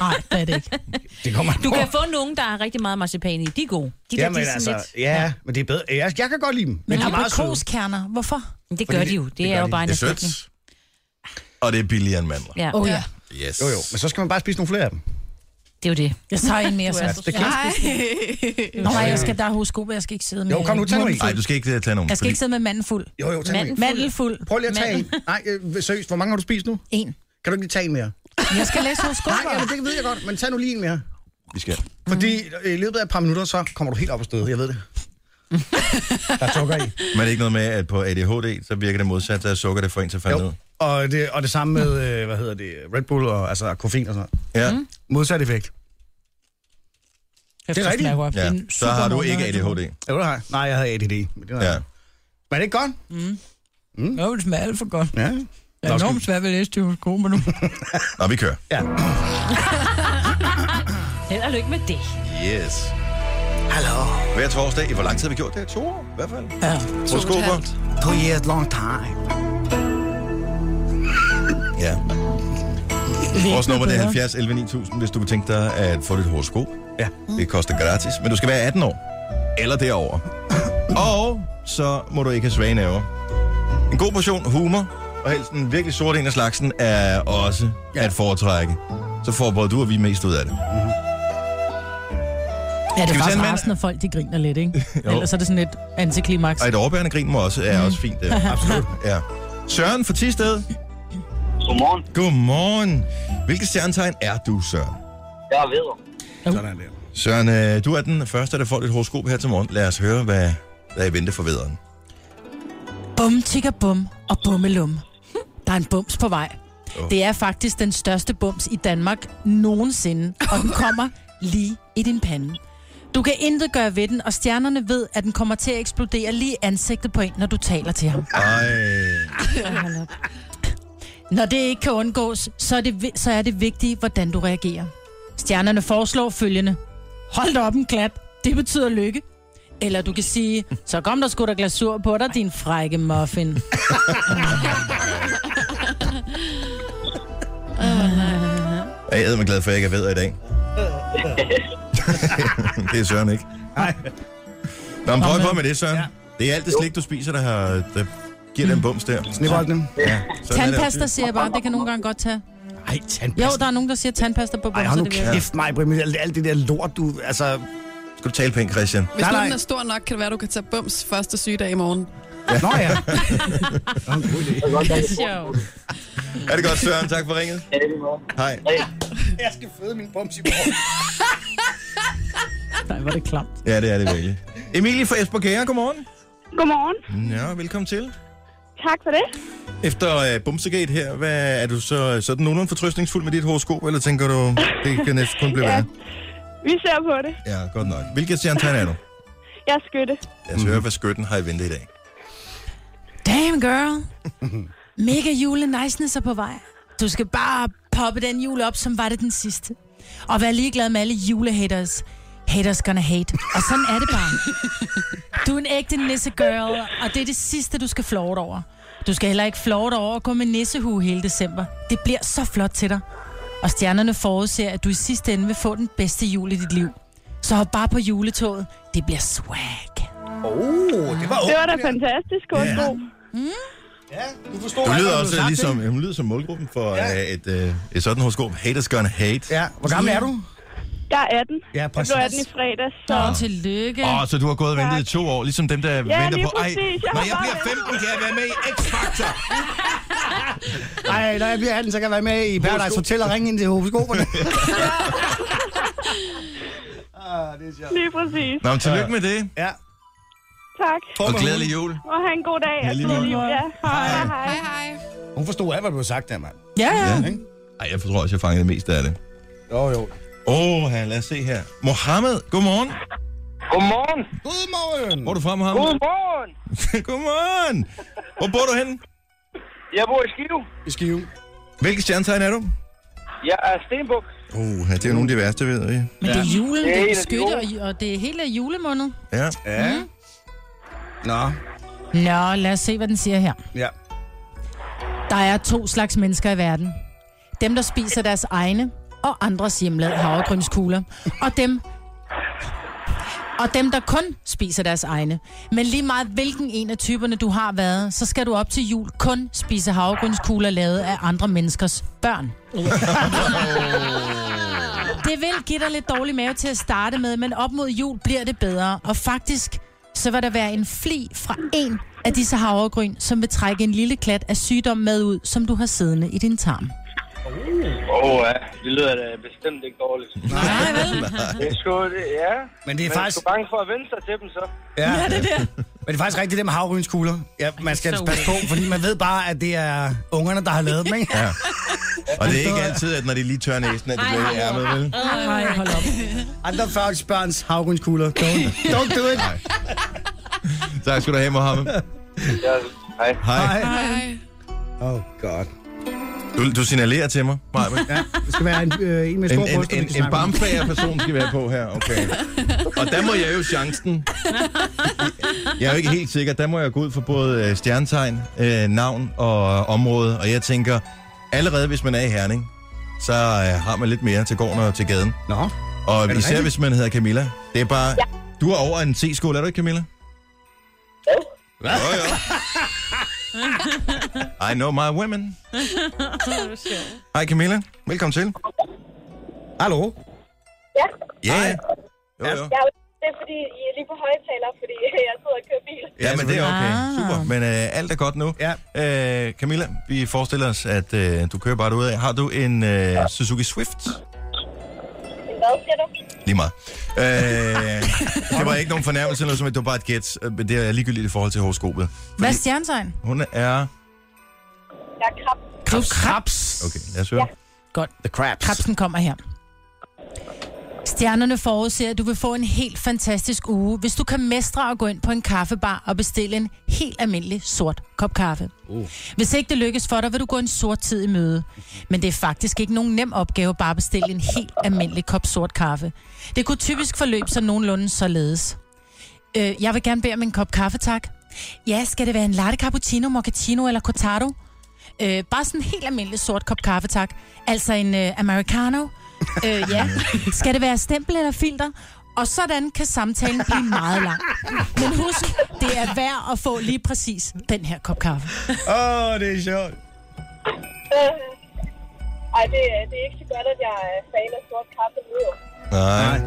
D: Nej, det er det ikke.
C: Det kommer
B: Du kan få nogen, der er rigtig meget marcipan i. De er gode. De der, de
C: Jamen
B: er sådan
C: altså,
B: lidt...
C: ja, ja, men det er bedre. Jeg, jeg kan godt lide dem, men de er meget søde.
D: Aprikoskerner, hvorfor?
B: Men Det
C: Fordi
B: gør de
C: det-
B: jo. Det,
C: det
B: er
C: gør
B: jo
C: de.
B: bare en
A: Det er
B: erstatning.
A: sødt. Og det er billigere end mandler.
B: Ja,
D: Åh oh, ja.
A: Yes.
C: Jo, jo, men så skal man bare spise nogle flere af dem.
B: det er jo det.
D: Altså, Jeg tager en mere, så.
B: er
D: Ja,
B: så
D: det
E: Nej.
D: Nå, nej, jeg skal der huske på, jeg skal ikke sidde med...
C: Jo, kom nu, tag nu en.
D: munden fuld.
A: Nej, du skal ikke øh, tage nogen.
D: Jeg skal
A: fordi-
D: ikke sidde med manden fuld.
C: Jo, jo, tag nu en.
B: Manden
D: Mandelfuld.
C: Prøv lige at tage en. Nej, øh, seriøst, hvor mange har du spist nu?
D: En.
G: Kan du ikke lige tage en mere?
D: Jeg skal læse hos
G: Nej,
D: Skubber.
G: jamen, det ved jeg godt, men tag nu lige en mere.
A: Vi skal.
G: Fordi øh, i løbet af et par minutter, så kommer du helt op på stedet, jeg ved det.
C: Der tukker i.
A: Men er det ikke noget med, at på ADHD, så virker det modsat, at sukker det får en til at falde ned?
G: Jo. Og det, og det samme med, øh, hvad hedder det, Red Bull og altså koffein og sådan noget.
A: Ja.
D: Mm.
G: Modsat effekt.
D: Det er
G: rigtigt.
A: ja. Så har du ikke ADHD.
G: Jo, det har jeg. Nej, jeg havde ADD. Men det var
A: Ja.
G: Men er det ikke godt?
D: Jo, det smager alt for godt.
G: Ja.
D: Jeg er enormt svært ved at læse til hos Skubber nu.
A: Nå, vi kører.
B: Held og lykke med det.
A: Yes.
G: Hallo.
A: Hver torsdag. I hvor lang tid har vi gjort det? To år i hvert fald.
D: Ja.
A: Horoskoper.
G: Two years long time.
A: Ja. Vores nummer det er 70 11 9000, hvis du kunne tænke dig at få dit horoskop.
G: Ja.
A: Mm. Det koster gratis, men du skal være 18 år. Eller derover. Og så må du ikke have svage nerver. En god portion humor, og helst en virkelig sort en af slagsen, er også ja. at foretrække. Så får både du og vi mest ud af det.
D: Ja, det
A: Skal vi
D: er
A: tage en
D: faktisk
A: mand?
D: resten af folk, de griner lidt, ikke? Ellers er det sådan et antiklimaks.
A: Og et overbærende grin må også, er også fint. Det. Mm. *laughs* Absolut. Ja. Søren fra Tisted.
I: Godmorgen,
A: Godmorgen. Hvilket stjernetegn er du, Søren?
I: jeg er Vedder.
G: Sådan der.
A: Søren, øh, du er den første, der får dit horoskop her til morgen. Lad os høre, hvad der er i vente for vederen.
D: Bum, tigger, bum og bummelum. Der er en bums på vej.
A: Åh.
D: Det er faktisk den største bums i Danmark nogensinde, og den kommer lige i din pande. Du kan intet gøre ved den, og stjernerne ved, at den kommer til at eksplodere lige i ansigtet på en, når du taler til ham.
A: Ej.
D: Når det ikke kan undgås, så er det, vi- så er det vigtigt, hvordan du reagerer. Stjernerne foreslår følgende. Hold da op en klat. Det betyder lykke. Eller du kan sige, så kom der sgu da glasur på dig, din frække muffin.
A: Jeg er mig glad for, at jeg ikke er ved i dag. det er Søren ikke.
G: Nej.
A: Nå, men prøv
D: Nå,
A: på
D: men-
A: med det, Søren. Ja. Det er alt det slik, du spiser, der, har, der giver den bums der.
G: Snibboldene.
A: Ja. Sådan er det
D: Tandpasta
A: også.
D: siger jeg bare, det kan nogle gange godt tage.
G: Ej,
D: Jo,
G: tandpasta.
D: der er nogen, der siger tandpasta på
G: Ej, hold
D: bumser.
G: nu
D: det vil jeg-
G: kæft mig, Brimme. Alt, alt det der lort, du... Altså,
A: Skal du tale pænt, Christian?
E: Hvis
G: Nej,
E: nej,
G: nej.
E: er stor nok, kan det være, at du kan tage bums første sygedag i morgen.
G: Nå ja.
B: Det er
D: *laughs*
B: sjovt.
A: Er det godt, Søren? Tak for ringet.
I: Ja, det er godt.
A: Hej.
G: *laughs* Jeg skal føde min bums i morgen.
D: Nej, hvor er det klamt.
A: Ja, det er det virkelig. Emilie fra Esbjerg, Kære, godmorgen.
J: Godmorgen.
A: Mm, Ja, velkommen til.
J: Tak for det.
A: Efter uh, Bumsegate her, hvad, er du så øh, sådan nogenlunde fortrøstningsfuld med dit horoskop, eller tænker du, det kan næsten kun blive
J: Ja.
A: værre?
J: Vi ser på det.
A: Ja, godt nok. Hvilket stjernetegn er du?
J: Jeg er skytte.
A: Lad os høre, hvad skytten har i vente i dag.
D: Damn,
G: *laughs*
D: girl. Mega julenejsen er på vej. Du skal bare poppe den jul op, som var det den sidste. Og vær ligeglad med alle julehaters. Haters gonna hate. Og sådan er det bare.
G: *laughs*
D: Du er en ægte nisse girl, og det er det sidste, du skal flåre over. Du skal heller ikke flåre over at gå med nissehue hele december. Det bliver så flot til dig. Og stjernerne forudser, at du i sidste ende vil få den bedste jul i dit liv. Så hop bare på juletoget. Det bliver swag.
G: Oh, det var
J: Det var da
G: åbent.
J: fantastisk horoskop.
G: Ja, du forstod
A: Du
G: alt,
A: lyder
G: hvad
A: også
G: sagde
A: ligesom,
G: til
A: jamen, lyder som målgruppen for
G: Ja.
A: ja. et, øh, et sådan horoskop. Haters gonna hate.
G: den. Ja, hvor gammel er du?
J: Jeg er 18.
G: Ja,
J: Jeg blev
G: præcis.
J: 18 i fredags, så...
D: Og tillykke.
A: Åh, så du har gået og ventet i to år, ligesom dem, der venter
J: lige
A: på...
J: præcis. Jeg
A: når
J: har
A: jeg
J: bare
A: bliver 15, kan jeg være med i X-Factor.
G: Nej, når jeg bliver 18, så kan jeg være med i Paradise Hotel og ringe ind til *laughs* horoskoperne. ah, det er sjovt.
J: Lige præcis.
A: Nå, men tillykke med det.
G: Ja.
J: Tak.
A: Og glædelig jul.
J: Og have en god dag.
A: Ja,
J: og
A: lige
J: glædelig
A: måde.
J: jul. Ja, hej. hej. hej.
E: Hej, hej.
G: Hun forstod alt, hvad du havde sagt der, mand.
D: Ja, ja.
A: Ej, jeg tror også, jeg fangede det meste af det.
G: Jo, jo.
A: Åh, oh, lad os se her. Mohammed, godmorgen.
I: Godmorgen.
G: Godmorgen!
A: Hvor er du fra, Mohammed?
I: Godmorgen.
A: *laughs* godmorgen. Hvor bor du henne?
I: Jeg bor i Skive.
G: I Skive.
A: Hvilket stjernetegn er du?
I: Jeg er Stenbuk.
A: Uh, det er jo nogle af de værste, ved jeg.
D: Men det er julen,
I: Det
D: det er
I: er en af de
D: beskytte, og, og det er hele julemåned.
A: Ja.
G: Ja. Nå,
D: Nå, lad os se, hvad den siger her.
G: ja.
D: Der er to slags mennesker i verden. Dem, der spiser deres egne og andres hjemlad havregrynskugler. Og dem, og dem, der kun spiser deres egne. Men lige meget hvilken en af typerne du har været, så skal du op til jul kun spise havregrynskugler lavet af andre menneskers børn. Det vil give dig lidt dårlig mave til at starte med, men op mod jul bliver det bedre. Og faktisk, så vil der være en fli fra en af disse havregryn, som vil trække en lille klat af sygdom med ud, som du har siddende i din tarm.
I: Åh, oh, ja. Det lyder da bestemt ikke dårligt.
D: Nej, vel?
I: Det er sgu, det, ja.
G: Men det er
I: Men
G: faktisk...
I: du er bange for at vende sig til dem, så.
G: Ja, det er det. *laughs* Men det er faktisk rigtigt, det med havrynskugler. Ja, man skal
B: så
G: passe på, fordi man ved bare, at det er ungerne, der har lavet dem, ikke? Ja.
A: Og det er ikke altid, at når de lige tør næsen, at det bliver i ærmet, vel?
D: Nej, hold op.
G: Andre folks børns havrynskugler. Don't, don't do it.
A: Tak skal du have, Mohammed.
I: Ja, hej.
A: Hej.
E: Hej.
G: Oh god.
A: Du, du signalerer til mig, Maja.
G: Ja, det skal være en, øh, en med
A: En,
G: stor
A: en,
G: bryst,
A: en, en bamfager person skal være på her, okay. Og der må jeg jo chancen. Jeg er jo ikke helt sikker. Der må jeg gå ud for både øh, stjernetegn, øh, navn og øh, område. Og jeg tænker, allerede hvis man er i Herning, så øh, har man lidt mere til gården og til gaden.
G: Nå,
A: Og især
G: det rigtigt?
A: hvis man hedder Camilla. Det er bare... Ja. Du er over en C-skål, er du ikke, Camilla? Hvad? Jo, jo. I know my women. Hej Camilla, velkommen til.
G: hallo.
J: Ja,
A: Ja, yeah. jo, jo.
J: jeg, det er fordi, I er lige på højtaler, fordi *laughs* jeg sidder og kører bil.
A: Ja, men det er okay.
D: Ah.
A: Super. Men øh, alt er godt nu.
G: Ja.
A: Øh, Camilla, vi forestiller os, at øh, du kører bare ud af. Har du en øh, Suzuki Swift?
J: Hvad siger du?
A: Lige meget. Øh, *laughs* det var ikke nogen fornærmelse, eller noget som helst. det var bare et gæt. Øh, men Det er ligegyldigt i forhold til horoskopet.
D: Hvad er stjernetegn?
A: Hun er...
J: Jeg er krab.
D: Krebs.
G: Krebs.
A: Okay, lad os høre.
D: Godt.
G: The crabs.
D: Krebsen kommer her. Stjernerne forudser, at du vil få en helt fantastisk uge, hvis du kan mestre at gå ind på en kaffebar og bestille en helt almindelig sort kop kaffe. Uh. Hvis ikke det lykkes for dig, vil du gå en sort tid i møde. Men det er faktisk ikke nogen nem opgave bare at bestille en helt almindelig kop sort kaffe. Det kunne typisk forløbe sig nogenlunde således. Øh, jeg vil gerne bede om en kop kaffe, tak. Ja, skal det være en latte cappuccino, mochaccino eller cortado? Øh, bare sådan en helt almindelig sort kop kaffe, tak. Altså en øh, americano.
G: *laughs*
D: Øh, ja. Skal det være stempel eller filter? Og sådan kan samtalen blive meget lang. Men husk, det er værd at få lige præcis den her kop kaffe.
G: Åh, oh, det er sjovt.
J: Øh, Ej, det, er- det er ikke så godt, at jeg øh, er fan af sort kaffe nu.
A: Nej.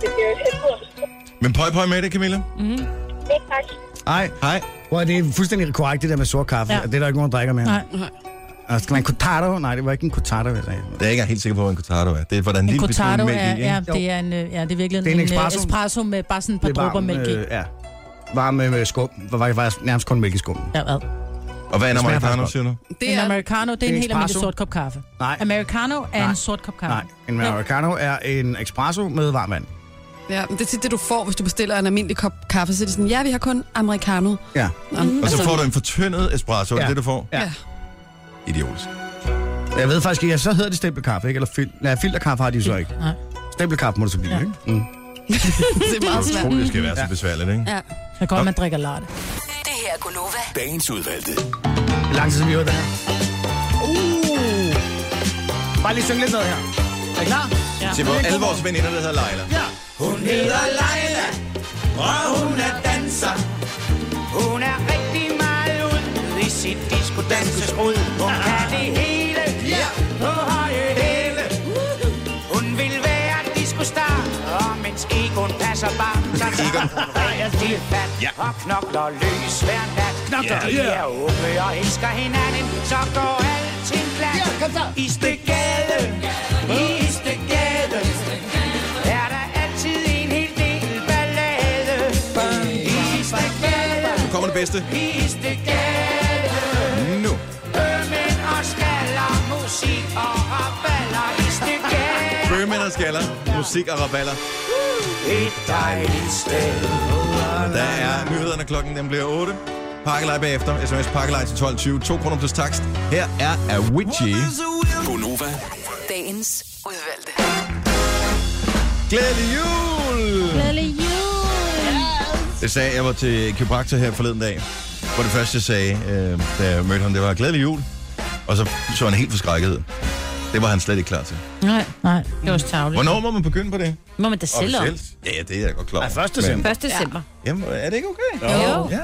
J: Det bliver jo et helvede.
A: Men pøj pøj med det, Camilla.
J: Ikke tak.
G: Nej.
A: Nej.
G: Wow, det er fuldstændig korrekt, det der med sort kaffe.
D: Ja.
G: Ja. Det er der ikke nogen, der drikker mere.
D: Nej.
G: Og skal man en cortado? Nej, det var ikke en cortado, jeg sagde.
A: Det er jeg ikke helt sikker på, hvad en cortado er. Det er, hvordan en
D: En
A: lille bitte smule
D: cortado
A: mælk i,
D: er,
A: ikke?
D: ja, det er en, øh, ja, det er virkelig
G: Det er en
D: en, øh,
G: espresso.
D: espresso med bare sådan et par
G: Lidt varm,
D: dråber mælk i.
G: øh, ja. Varm øh, med, med skum. Hvor var det faktisk nærmest kun mælk i skummen.
D: Ja, hvad?
A: Og hvad er en
G: Det smager faktisk
A: americano,
G: godt.
A: siger du?
E: Det
D: En
E: er,
D: americano, det er
G: det er
D: en helt almindelig
G: espresso.
D: sort kop kaffe.
G: Nej,
D: Americano er
G: Nej.
D: en sort kop kaffe.
G: nej. En americano er en espresso med varm vand.
E: ja, det er tit det, du får, hvis du bestiller en almindelig kop kaffe. Så er det sådan, ja, vi har kun americano.
G: Ja.
E: Nå, mm.
A: Og så får du en fortyndet espresso, ja. det er
G: Ja.
A: det, du får?
G: Ja.
A: Idiotisk.
G: Jeg ved faktisk ikke, ja, så hedder det stempelkaffe, ikke? Eller fil... Nej, filterkaffe har de så ikke.
D: Nej.
G: Stempelkaffe må det så blive,
D: Ja.
G: ja. ikke? Mm.
E: *laughs* det er
A: Jeg
E: meget svært.
A: tror, det skal være så besværligt, ikke?
E: Ja.
D: Så kan godt, man drikker latte.
F: Det her er Gunova.
H: Dagens udvalgte.
G: Det er lang tid, siden vi har hørt det her. Uh! Bare lige synge lidt med her. Er I klar?
A: Til vores, alle vores veninder, der hedder Leila.
G: Ja. Hun hedder Leila, og hun er danser. Hun er rigtig meget ude i sit disco danseskrud. Hun kan det hele ja. på høje hæle. Hun vil være disco-star, og mens Egon passer bare, så tager hun rigtig fat
A: Ja.
G: og knokler løs hver nat. Knokler, yeah, De er unge og elsker hinanden, så går alting glat. Ja, kom så. Istegade, Istegade, er der altid en hel del ballade. Istegade,
A: Nu kommer det bedste.
G: Istegade.
A: Nu.
G: Bømmen og skaller, musik og raballer i stykker.
A: Bømænd og skaller, musik og raballer.
G: Et dejligt sted.
A: Der er nyhederne klokken, den bliver 8. Pakkelej bagefter. SMS pakkelej til 12.20. 2 kroner plus takst. Her er Avicii.
H: Gonova.
F: Dagens udvalgte.
A: Glædelig jul!
B: Glædelig jul!
A: Jeg sagde, jeg var til kiropraktor her forleden dag. For det første, jeg sagde, øh, da jeg mødte ham, det var glædelig jul. Og så så han helt forskrækket ud. Det var han slet ikke klar til.
B: Nej,
D: Nej.
B: det var også tavligt.
A: Hvornår må man begynde på det?
B: Må man da selv op?
A: Officielt? Ja, det er jeg godt klar over.
G: Ej, første december.
B: 1. december.
A: Jamen, er det ikke okay?
B: Jo.
A: Ja.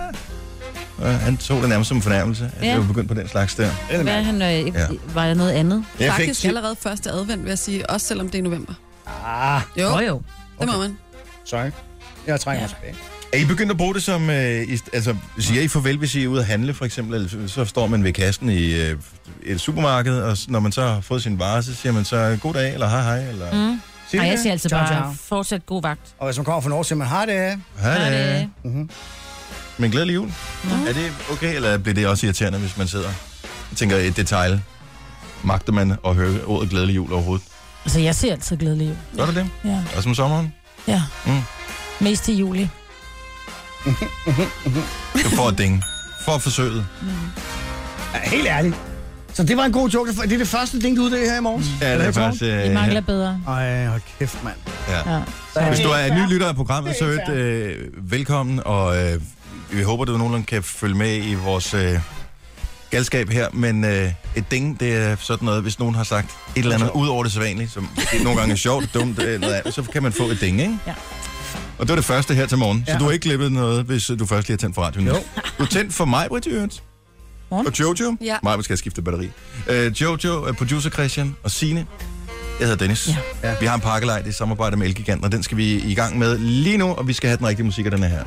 A: Og han tog det nærmest som en fornærmelse, at
B: Ja.
A: jeg var begyndt på den slags der.
B: Hvad er han, øh,
A: Ja.
B: var der noget andet?
A: Jeg fik
E: Faktisk allerede første advent, vil jeg sige. Også selvom det er november.
G: Ah,
E: Jo,
B: Nå jo.
E: det må man.
G: sorry. Jeg trænger ja. tilbage.
A: Er I begyndt at bruge det som... Øh, i, altså, siger I farvel, hvis I er ude at handle, for eksempel? Eller så står man ved kassen i øh, et supermarked, og s- når man så har fået sin vare, så siger man så god dag, eller hej hej, eller... Mm.
B: Nej, jeg siger altså
G: Ciao,
B: bare,
G: ciao.
B: fortsat god vagt.
G: Og hvis man kommer for en år, siger man, har det.
A: Hej
B: Hej
A: da.
B: da.
A: Men glædelig jul. Mm. Er det okay, eller bliver det også irriterende, hvis man sidder og tænker et detalje? Magter man at høre ordet glædelig jul overhovedet?
D: Altså, jeg ser altid glædelig jul.
A: Gør du det?
D: Ja.
A: Også om sommeren?
D: Ja.
A: Mm.
D: Mest i juli.
A: Du får et ding. For forsøget.
G: Ja, helt ærligt. Så det var en god joke. Det er det første ding, du uddeler her i morgen.
A: Ja, det er faktisk...
D: Vi
A: Øh,
D: mangler bedre.
G: Ej, hold kæft, mand.
A: ja.
D: Ja.
A: Hvis du er ny lytter af programmet, så er øh, velkommen, og øh, vi håber, du nogenlunde kan følge med i vores øh, galskab her, men øh, et ding, det er sådan noget, hvis nogen har sagt et eller andet ud over det sædvanlige, som det nogle gange er sjovt, dumt, øh, eller andet, så kan man få et ding, ikke?
D: Ja.
A: Og det var det første her til morgen, så
G: Ja.
A: du har ikke klippet noget, hvis øh, du først lige har tændt for radioen.
G: Jo.
A: Du har tændt for mig, Britt, i øvrigt.
D: Morgen.
A: Og Jojo.
E: Ja.
A: Mig, skal jeg skifte batteri. Øh, Jojo, øh, producer Christian og Sine. Jeg hedder Dennis. Ja. Ja. Vi har en pakkelej, det er i samarbejde med Elgiganten, og den skal vi i gang med lige nu, og vi skal have den rigtige musik af den er her.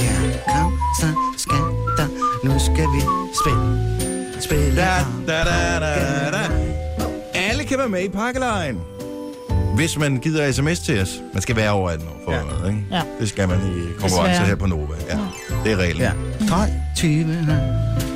G: Ja, kom, så skal der. Nu skal vi spille. Spille.
A: Da, da, da, da, da. Alle kan være med i pakkelejen. Hvis man gider sms til os. Man skal være over 18 år for
G: Ja.
A: ja. ikke?
D: Ja.
A: Det skal man i konkurrence
D: Desværre.
A: her på Nova. Ja. Det er reglen.
G: Ja.
A: Ja.
G: 12, 20.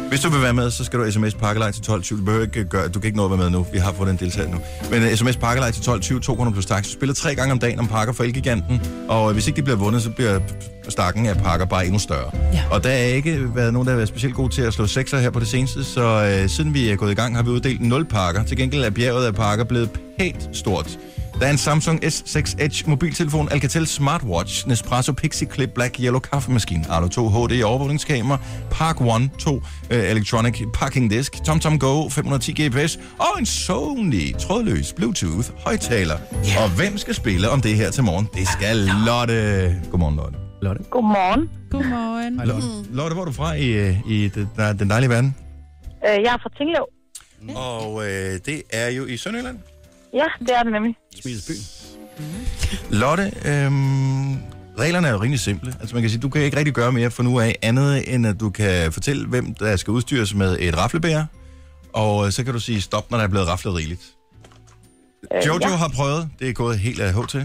A: Hvis du vil være med, så skal du sms pakkelej til 12.20. Du behøver ikke gøre, du kan ikke nå at være med nu. Vi har fået den deltaget nu. Men uh, sms pakkelej til 12.20, 200 plus tax. Du spiller tre gange om dagen om pakker for Elgiganten. Og øh, hvis ikke de bliver vundet, så bliver stakken af pakker bare endnu større.
D: Ja.
A: Og der er ikke været nogen, der har været specielt god til at slå sekser her på det seneste. Så uh, siden vi er gået i gang, har vi uddelt 0 pakker. Til gengæld er bjerget af pakker blevet pænt stort. Der er en Samsung S6 Edge mobiltelefon, Alcatel smartwatch, Nespresso Pixie Clip Black Yellow kaffemaskine, Arlo 2 HD overvågningskamera, Park One 2 øh, Electronic Parking Disk, TomTom Go 510 GPS og en Sony trådløs Bluetooth højtaler. Yeah. Og hvem skal spille om det her til morgen? Det skal Lotte. Godmorgen, Lotte.
G: Lotte.
J: Godmorgen.
D: Godmorgen.
A: Lotte, Lotte hvor er du fra i, øh, i den, der- den dejlige verden?
J: Øh, jeg er fra Tinglev.
A: Og øh, det er jo i Sønderjylland.
J: Ja, det er det nemlig.
A: Smidesby. Lotte, øhm, reglerne er jo rimelig simple. Altså man kan sige, du kan ikke rigtig gøre mere for nu af andet, end at du kan fortælle, hvem der skal udstyres med et raflebær, og øh, så kan du sige stop, når der er blevet raflet rigeligt.
J: Øh,
A: Jojo
J: ja.
A: har prøvet, det er gået helt af HT.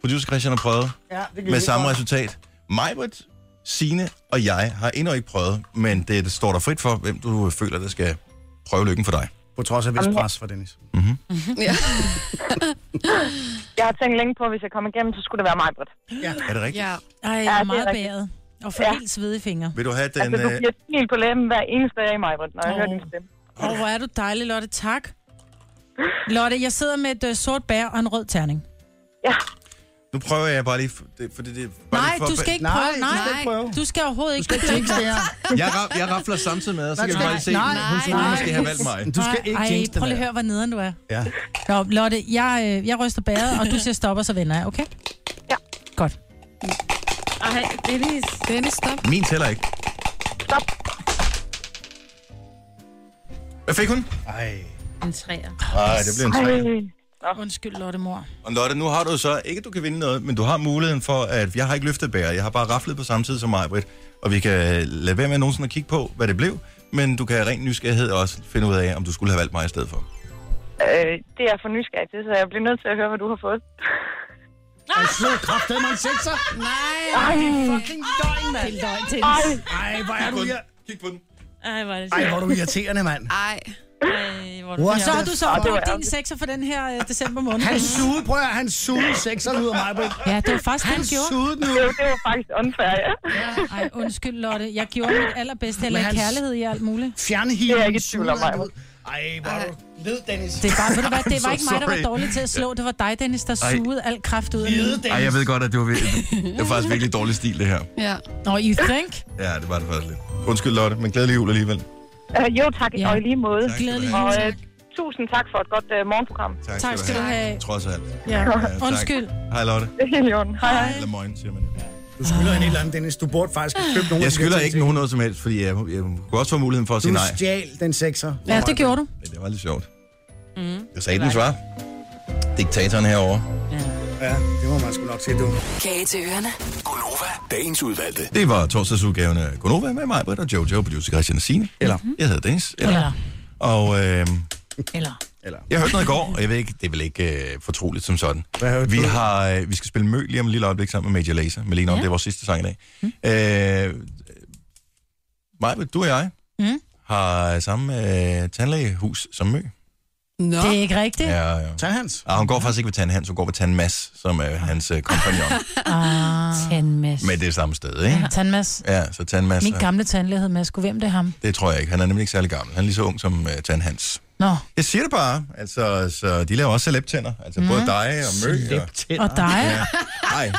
A: Producer Christian har prøvet
J: Ja, det gik
A: med
J: ikke
A: samme
J: godt.
A: resultat. Majbert, Sine og jeg har endnu ikke prøvet, men det, det står der frit for, hvem du føler, der skal prøve lykken for dig.
G: På trods af
J: vis pres
G: for Dennis.
A: Mm-hmm.
J: Ja. jeg har tænkt længe på, at hvis jeg kommer igennem, så skulle det være mig, Britt.
G: Ja.
A: Er det rigtigt?
J: Ja.
D: Ej, jeg er meget bæret. Og får
J: Ja.
D: helt svedige fingre.
A: Vil du have den...
J: Altså, du
A: øh,
J: bliver helt på læben hver eneste dag i mig, Britt, når jeg
D: Åh.
J: hører din stemme.
D: Åh, oh, hvor er du dejlig, Lotte. Tak. Lotte, jeg sidder med et øh, sort bær og en rød terning.
A: Nu prøver jeg bare lige... For, det, for det, det, bare
D: Nej,
A: lige for,
D: du skal ikke
G: Nej,
D: prøve.
G: du
D: Nej,
G: skal ikke prøve.
D: Du skal overhovedet ikke.
G: skal
D: *laughs*
G: ikke jinx det her.
A: Jeg, ra- jeg rafler samtidig med, og så kan vi
G: Nej,
A: bare lige se,
G: nej,
A: hun skulle
G: nej.
A: måske have valgt *laughs* mig.
G: Du skal ikke
D: Ej,
G: jinx det
D: prøv lige at
G: her.
D: høre, hvor nederen du er.
G: Ja.
D: Nå, Lotte, jeg, øh, jeg ryster bæret, og du siger stop, og så vender jeg, okay?
J: Ja.
D: Godt.
B: Ej, Dennis.
E: Dennis, stop.
A: Min tæller ikke.
J: Stop.
A: Hvad fik hun?
G: Ej.
B: En træer.
A: Nej, det blev en
J: Ej.
A: træer.
D: Undskyld, Lotte, mor.
A: Og Lotte, nu har du så... Ikke, at du kan vinde noget, men du har muligheden for, at... Jeg har ikke løftet bæret. Jeg har bare raflet på samme tid som mig, Britt. Og vi kan øh, lade være med nogensinde at kigge på, hvad det blev. Men du kan af ren nysgerrighed også finde ud af, om du skulle have valgt mig i stedet for.
J: Øh, det er jeg for nysgerrig til, så jeg bliver nødt til at høre, hvad du har fået.
G: Ej, slå kraftedeme mig en sekser.
E: Nej.
J: Ej,
G: Fucking døgn, mand.
J: ej.
G: Ej, hvor er du, ir-
A: Kig på den.
B: Ej, hvor er det
G: Ej, hvor er du irriterende, mand.
E: Ej.
B: Ej, hvor er
G: What
D: Og så har du så
J: det var
D: opbrugt din
J: ærgerligt.
D: sekser for den her øh, december måned.
G: Han sugede, prøv at høre, han sugede sekser ud af mig, Britt.
D: Ja, det var faktisk det,
G: Han
D: du gjorde.
G: sugede den
J: Det,
G: ud.
J: var- det var faktisk unfair, ja.
D: Ej, undskyld, Lotte. Jeg gjorde mit allerbedste, eller
G: Men han-
D: kærlighed i alt muligt.
G: Fjernhilen
J: Det er ikke i tvivl om,
G: sugede han
J: Maja.
G: ud. Ej, hvor er du led, Dennis.
D: Det, er bare, ved du hvad, det var
A: I'm
D: ikke
A: so
D: mig, der var
A: sorry.
D: dårlig til at slå. Det var dig, Dennis, der
A: Ej.
D: sugede al kraft ud af
G: Lede,
D: mig.
G: Dennis.
A: Ej, jeg ved godt, at det var, *laughs* det var faktisk virkelig dårlig stil, det her.
E: Ja.
D: Nå, you think?
A: Ja, det var det faktisk lidt. Undskyld, Lotte, men glædelig jul alligevel.
J: Øh, jo, tak,
D: Ja.
J: ja. og i lige måde.
A: Tak.
D: Glædelig
J: Og
D: jul.
J: øh, tusind tak for et godt øh, morgenprogram.
A: Tak,
D: Tak skal du have.
A: Trods alt.
D: Ja.
A: Ja, tak.
D: Undskyld.
A: Hej, Lotte.
J: Det er helt i orden. Hej, hej.
A: Eller morgen, siger man jo.
G: Du skylder hende et eller andet, Dennis. Du burde faktisk have købt nogen.
A: Jeg skylder ikke nogen noget som helst, fordi jeg, jeg kunne også få muligheden for at sige
G: Du
A: nej.
G: stjal den sekser.
D: Ja, det gjorde du.
A: Men det var lidt sjovt. Mm, jeg sagde den svar. Diktatoren herovre.
G: Ja, det må man sgu nok sige, du.
F: Kage til ørerne.
H: Gonova, dagens udvalgte.
A: Det var torsdagsudgaven af Gonova med mig, Britt og Jojo, producer Christian og Signe. Eller, jeg hedder Dennis. Eller.
D: Eller,
A: Og øh,
D: eller.
G: Eller,
A: jeg hørte noget i går, og jeg ved ikke, det er vel ikke øh, fortroligt som sådan.
G: Hvad hørte
A: vi
G: du?
A: har, øh, vi skal spille Mø lige om et lille øjeblik sammen med Major Lazer. Melina, ja. det er vores sidste sang i dag. Mm. Øh, Maja, du og jeg
D: Mm.
A: har samme øh, tandlægehus som Mø.
E: Nå.
D: Det er ikke rigtigt.
A: Ja, ja.
G: tag hans.
A: Ah, hun går faktisk ikke ved Tan Hans, hun går ved Tan Mads, som er hans øh, *laughs* kompagnon.
D: Ah. Tandmas.
A: Men det er samme sted, ikke?
D: Tandmas.
A: Ja, Altså. så Tan Mads,
D: Min gamle tandlæge hed Mads. Gud, Hvem det er ham?
A: det tror jeg ikke. Han er nemlig ikke særlig gammel. Han er lige så ung som uh, Tan Hans.
D: Nå,
A: Jeg siger det bare. Altså, så de laver også celebtænder. Altså mm. både dig og Mø. Og...
D: og dig.
A: Nej.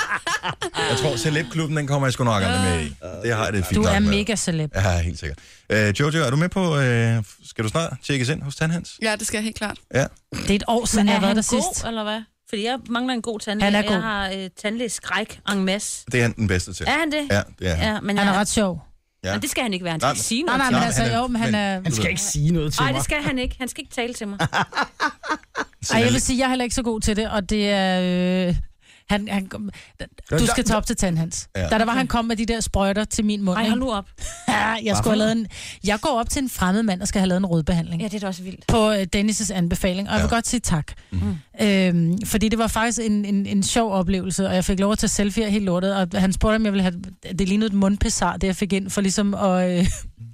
A: Jeg tror, celebklubben, den kommer jeg sgu nok aldrig med i. Det har jeg det fint
D: Du
A: nok
D: er
A: med.
D: mega celeb.
A: Ja, helt sikkert. Uh, Jojo, er du med på... Uh, skal du snart tjekkes ind hos Tan Hans?
E: Ja, det skal jeg helt klart.
A: Ja.
D: Det er et år siden, jeg har været der
B: god,
D: sidst.
B: eller hvad? Fordi jeg mangler en god tandlæge.
D: Han er
B: og
D: god.
B: Jeg har øh, tandlægeskræk en masse.
A: Det er han den bedste til.
B: Er han det?
A: Ja, det er han.
B: ja men
D: Han
B: jeg,
D: er ret sjov.
A: Ja.
B: Men det skal han ikke være. Han
A: Nej,
B: skal ikke sige
D: Nej,
B: noget
D: nej,
B: til
D: men
B: mig.
D: altså, jo, men han er...
G: Han skal ikke sige noget til
B: Nej,
G: mig.
B: det skal han ikke. Han skal ikke tale
A: *laughs*
B: til mig.
D: Ej, jeg vil sige, jeg er heller ikke så god til det, og det er... Øh, han, han, du skal tage op til tandhands.
A: Ja.
D: Ja. Da der var, han kom med de der sprøjter til min mund.
B: Ej,
D: ikke?
B: hold nu op.
D: Ja, jeg, skulle have lavet en, jeg går op til en fremmed mand og skal have lavet en rødbehandling.
B: Ja,
D: Ja.
B: det er da også vildt.
D: På øh, Dennis' anbefaling, og jeg vil
A: Ja.
D: godt sige tak. Mm. Øhm, fordi det var faktisk en, en, en sjov oplevelse, og jeg fik lov at tage selfie'er helt lortet, og han spurgte, om jeg ville have... Det lignede et mundpessar, det jeg fik ind, for ligesom at... Øh,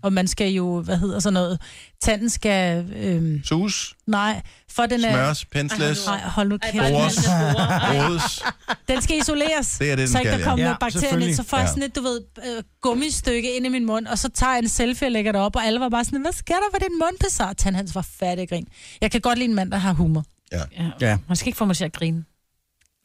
D: og man skal jo, hvad hedder sådan noget, tanden skal, øh,
A: Sus,
D: nej, for den er...
A: smørs, pensles,
D: Nej, hold nu kæft.
A: bare
D: mand.
A: Vores. rodes.
D: Den skal isoleres,
A: Det er det, den
D: så ikke
A: skal,
D: der
A: ja.
D: kommer
G: Ja,
D: ja, bakterier
G: selvfølgelig.
D: ind. Så får jeg
A: Ja.
D: sådan et, du ved, øh, gummistykke ind i min mund, og så tager jeg en selfie og lægger det op, og alle var bare sådan, hvad sker der for den mundpessar? Tan hans var fattig grin. Jeg kan godt lide en mand, der har humor.
G: Ja.
B: Man skal ikke få mig til at grine.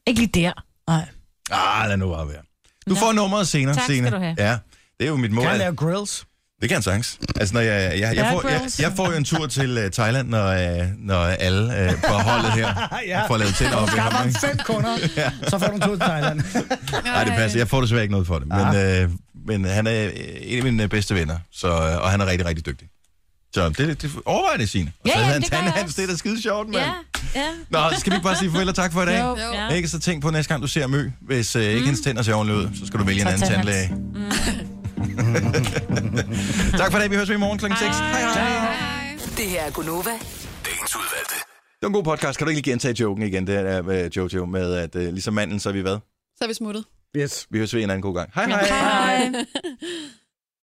B: Ikke lige der.
D: Nej.
A: Ah, lad nu bare være. Du får nummeret senere.
B: Tak skal
A: senere.
B: du have.
A: Ja, det er jo mit mål.
G: Kan han
A: at-
G: lave grills?
A: Det kan han sagtens. Altså, når jeg, jeg, jeg, jeg,
D: Bear
A: får, jeg,
D: Grylls.
A: jeg får jo en tur til uh, Thailand, når, uh, når alle uh, på holdet her
B: *laughs*
G: Ja.
A: får lavet tænder op. ved
G: Der
A: ham,
G: var
A: ikke?
G: fem *laughs* kunder, så får du en tur til Thailand.
A: Nej, det passer. Jeg får desværre ikke noget
B: Ah.
A: øh, for det. Men, uh, men han er øh, en af mine øh, bedste venner, så, uh, og han er rigtig, rigtig dygtig. Så det, det overvejer det, Signe. Og
B: Ja,
A: så
B: ja,
A: havde han
B: det gør jeg
A: tandhans,
B: også.
A: det er da skide sjovt, mand.
B: Ja, ja.
A: Nå, skal vi ikke bare sige farvel og tak for i dag?
B: Jo. Jo. Mm.
A: Ikke? Så tænk på næste gang, du ser Mø. Hvis øh, ikke hendes tænder ser ordentligt ud, så skal du vælge en anden tandlæge. *laughs* tak for i dag. Vi høres ved i morgen kl. 6. Hej, hej.
F: Det her er Gunova.
H: Dagens udvalgte.
A: Det var en god podcast. Kan du ikke lige gentage joken igen, det der med Jojo, med at øh, ligesom manden, så er vi hvad?
E: Så er vi smuttet.
A: Yes. Vi høres ved en anden god gang. Hej, hej.
E: Hej.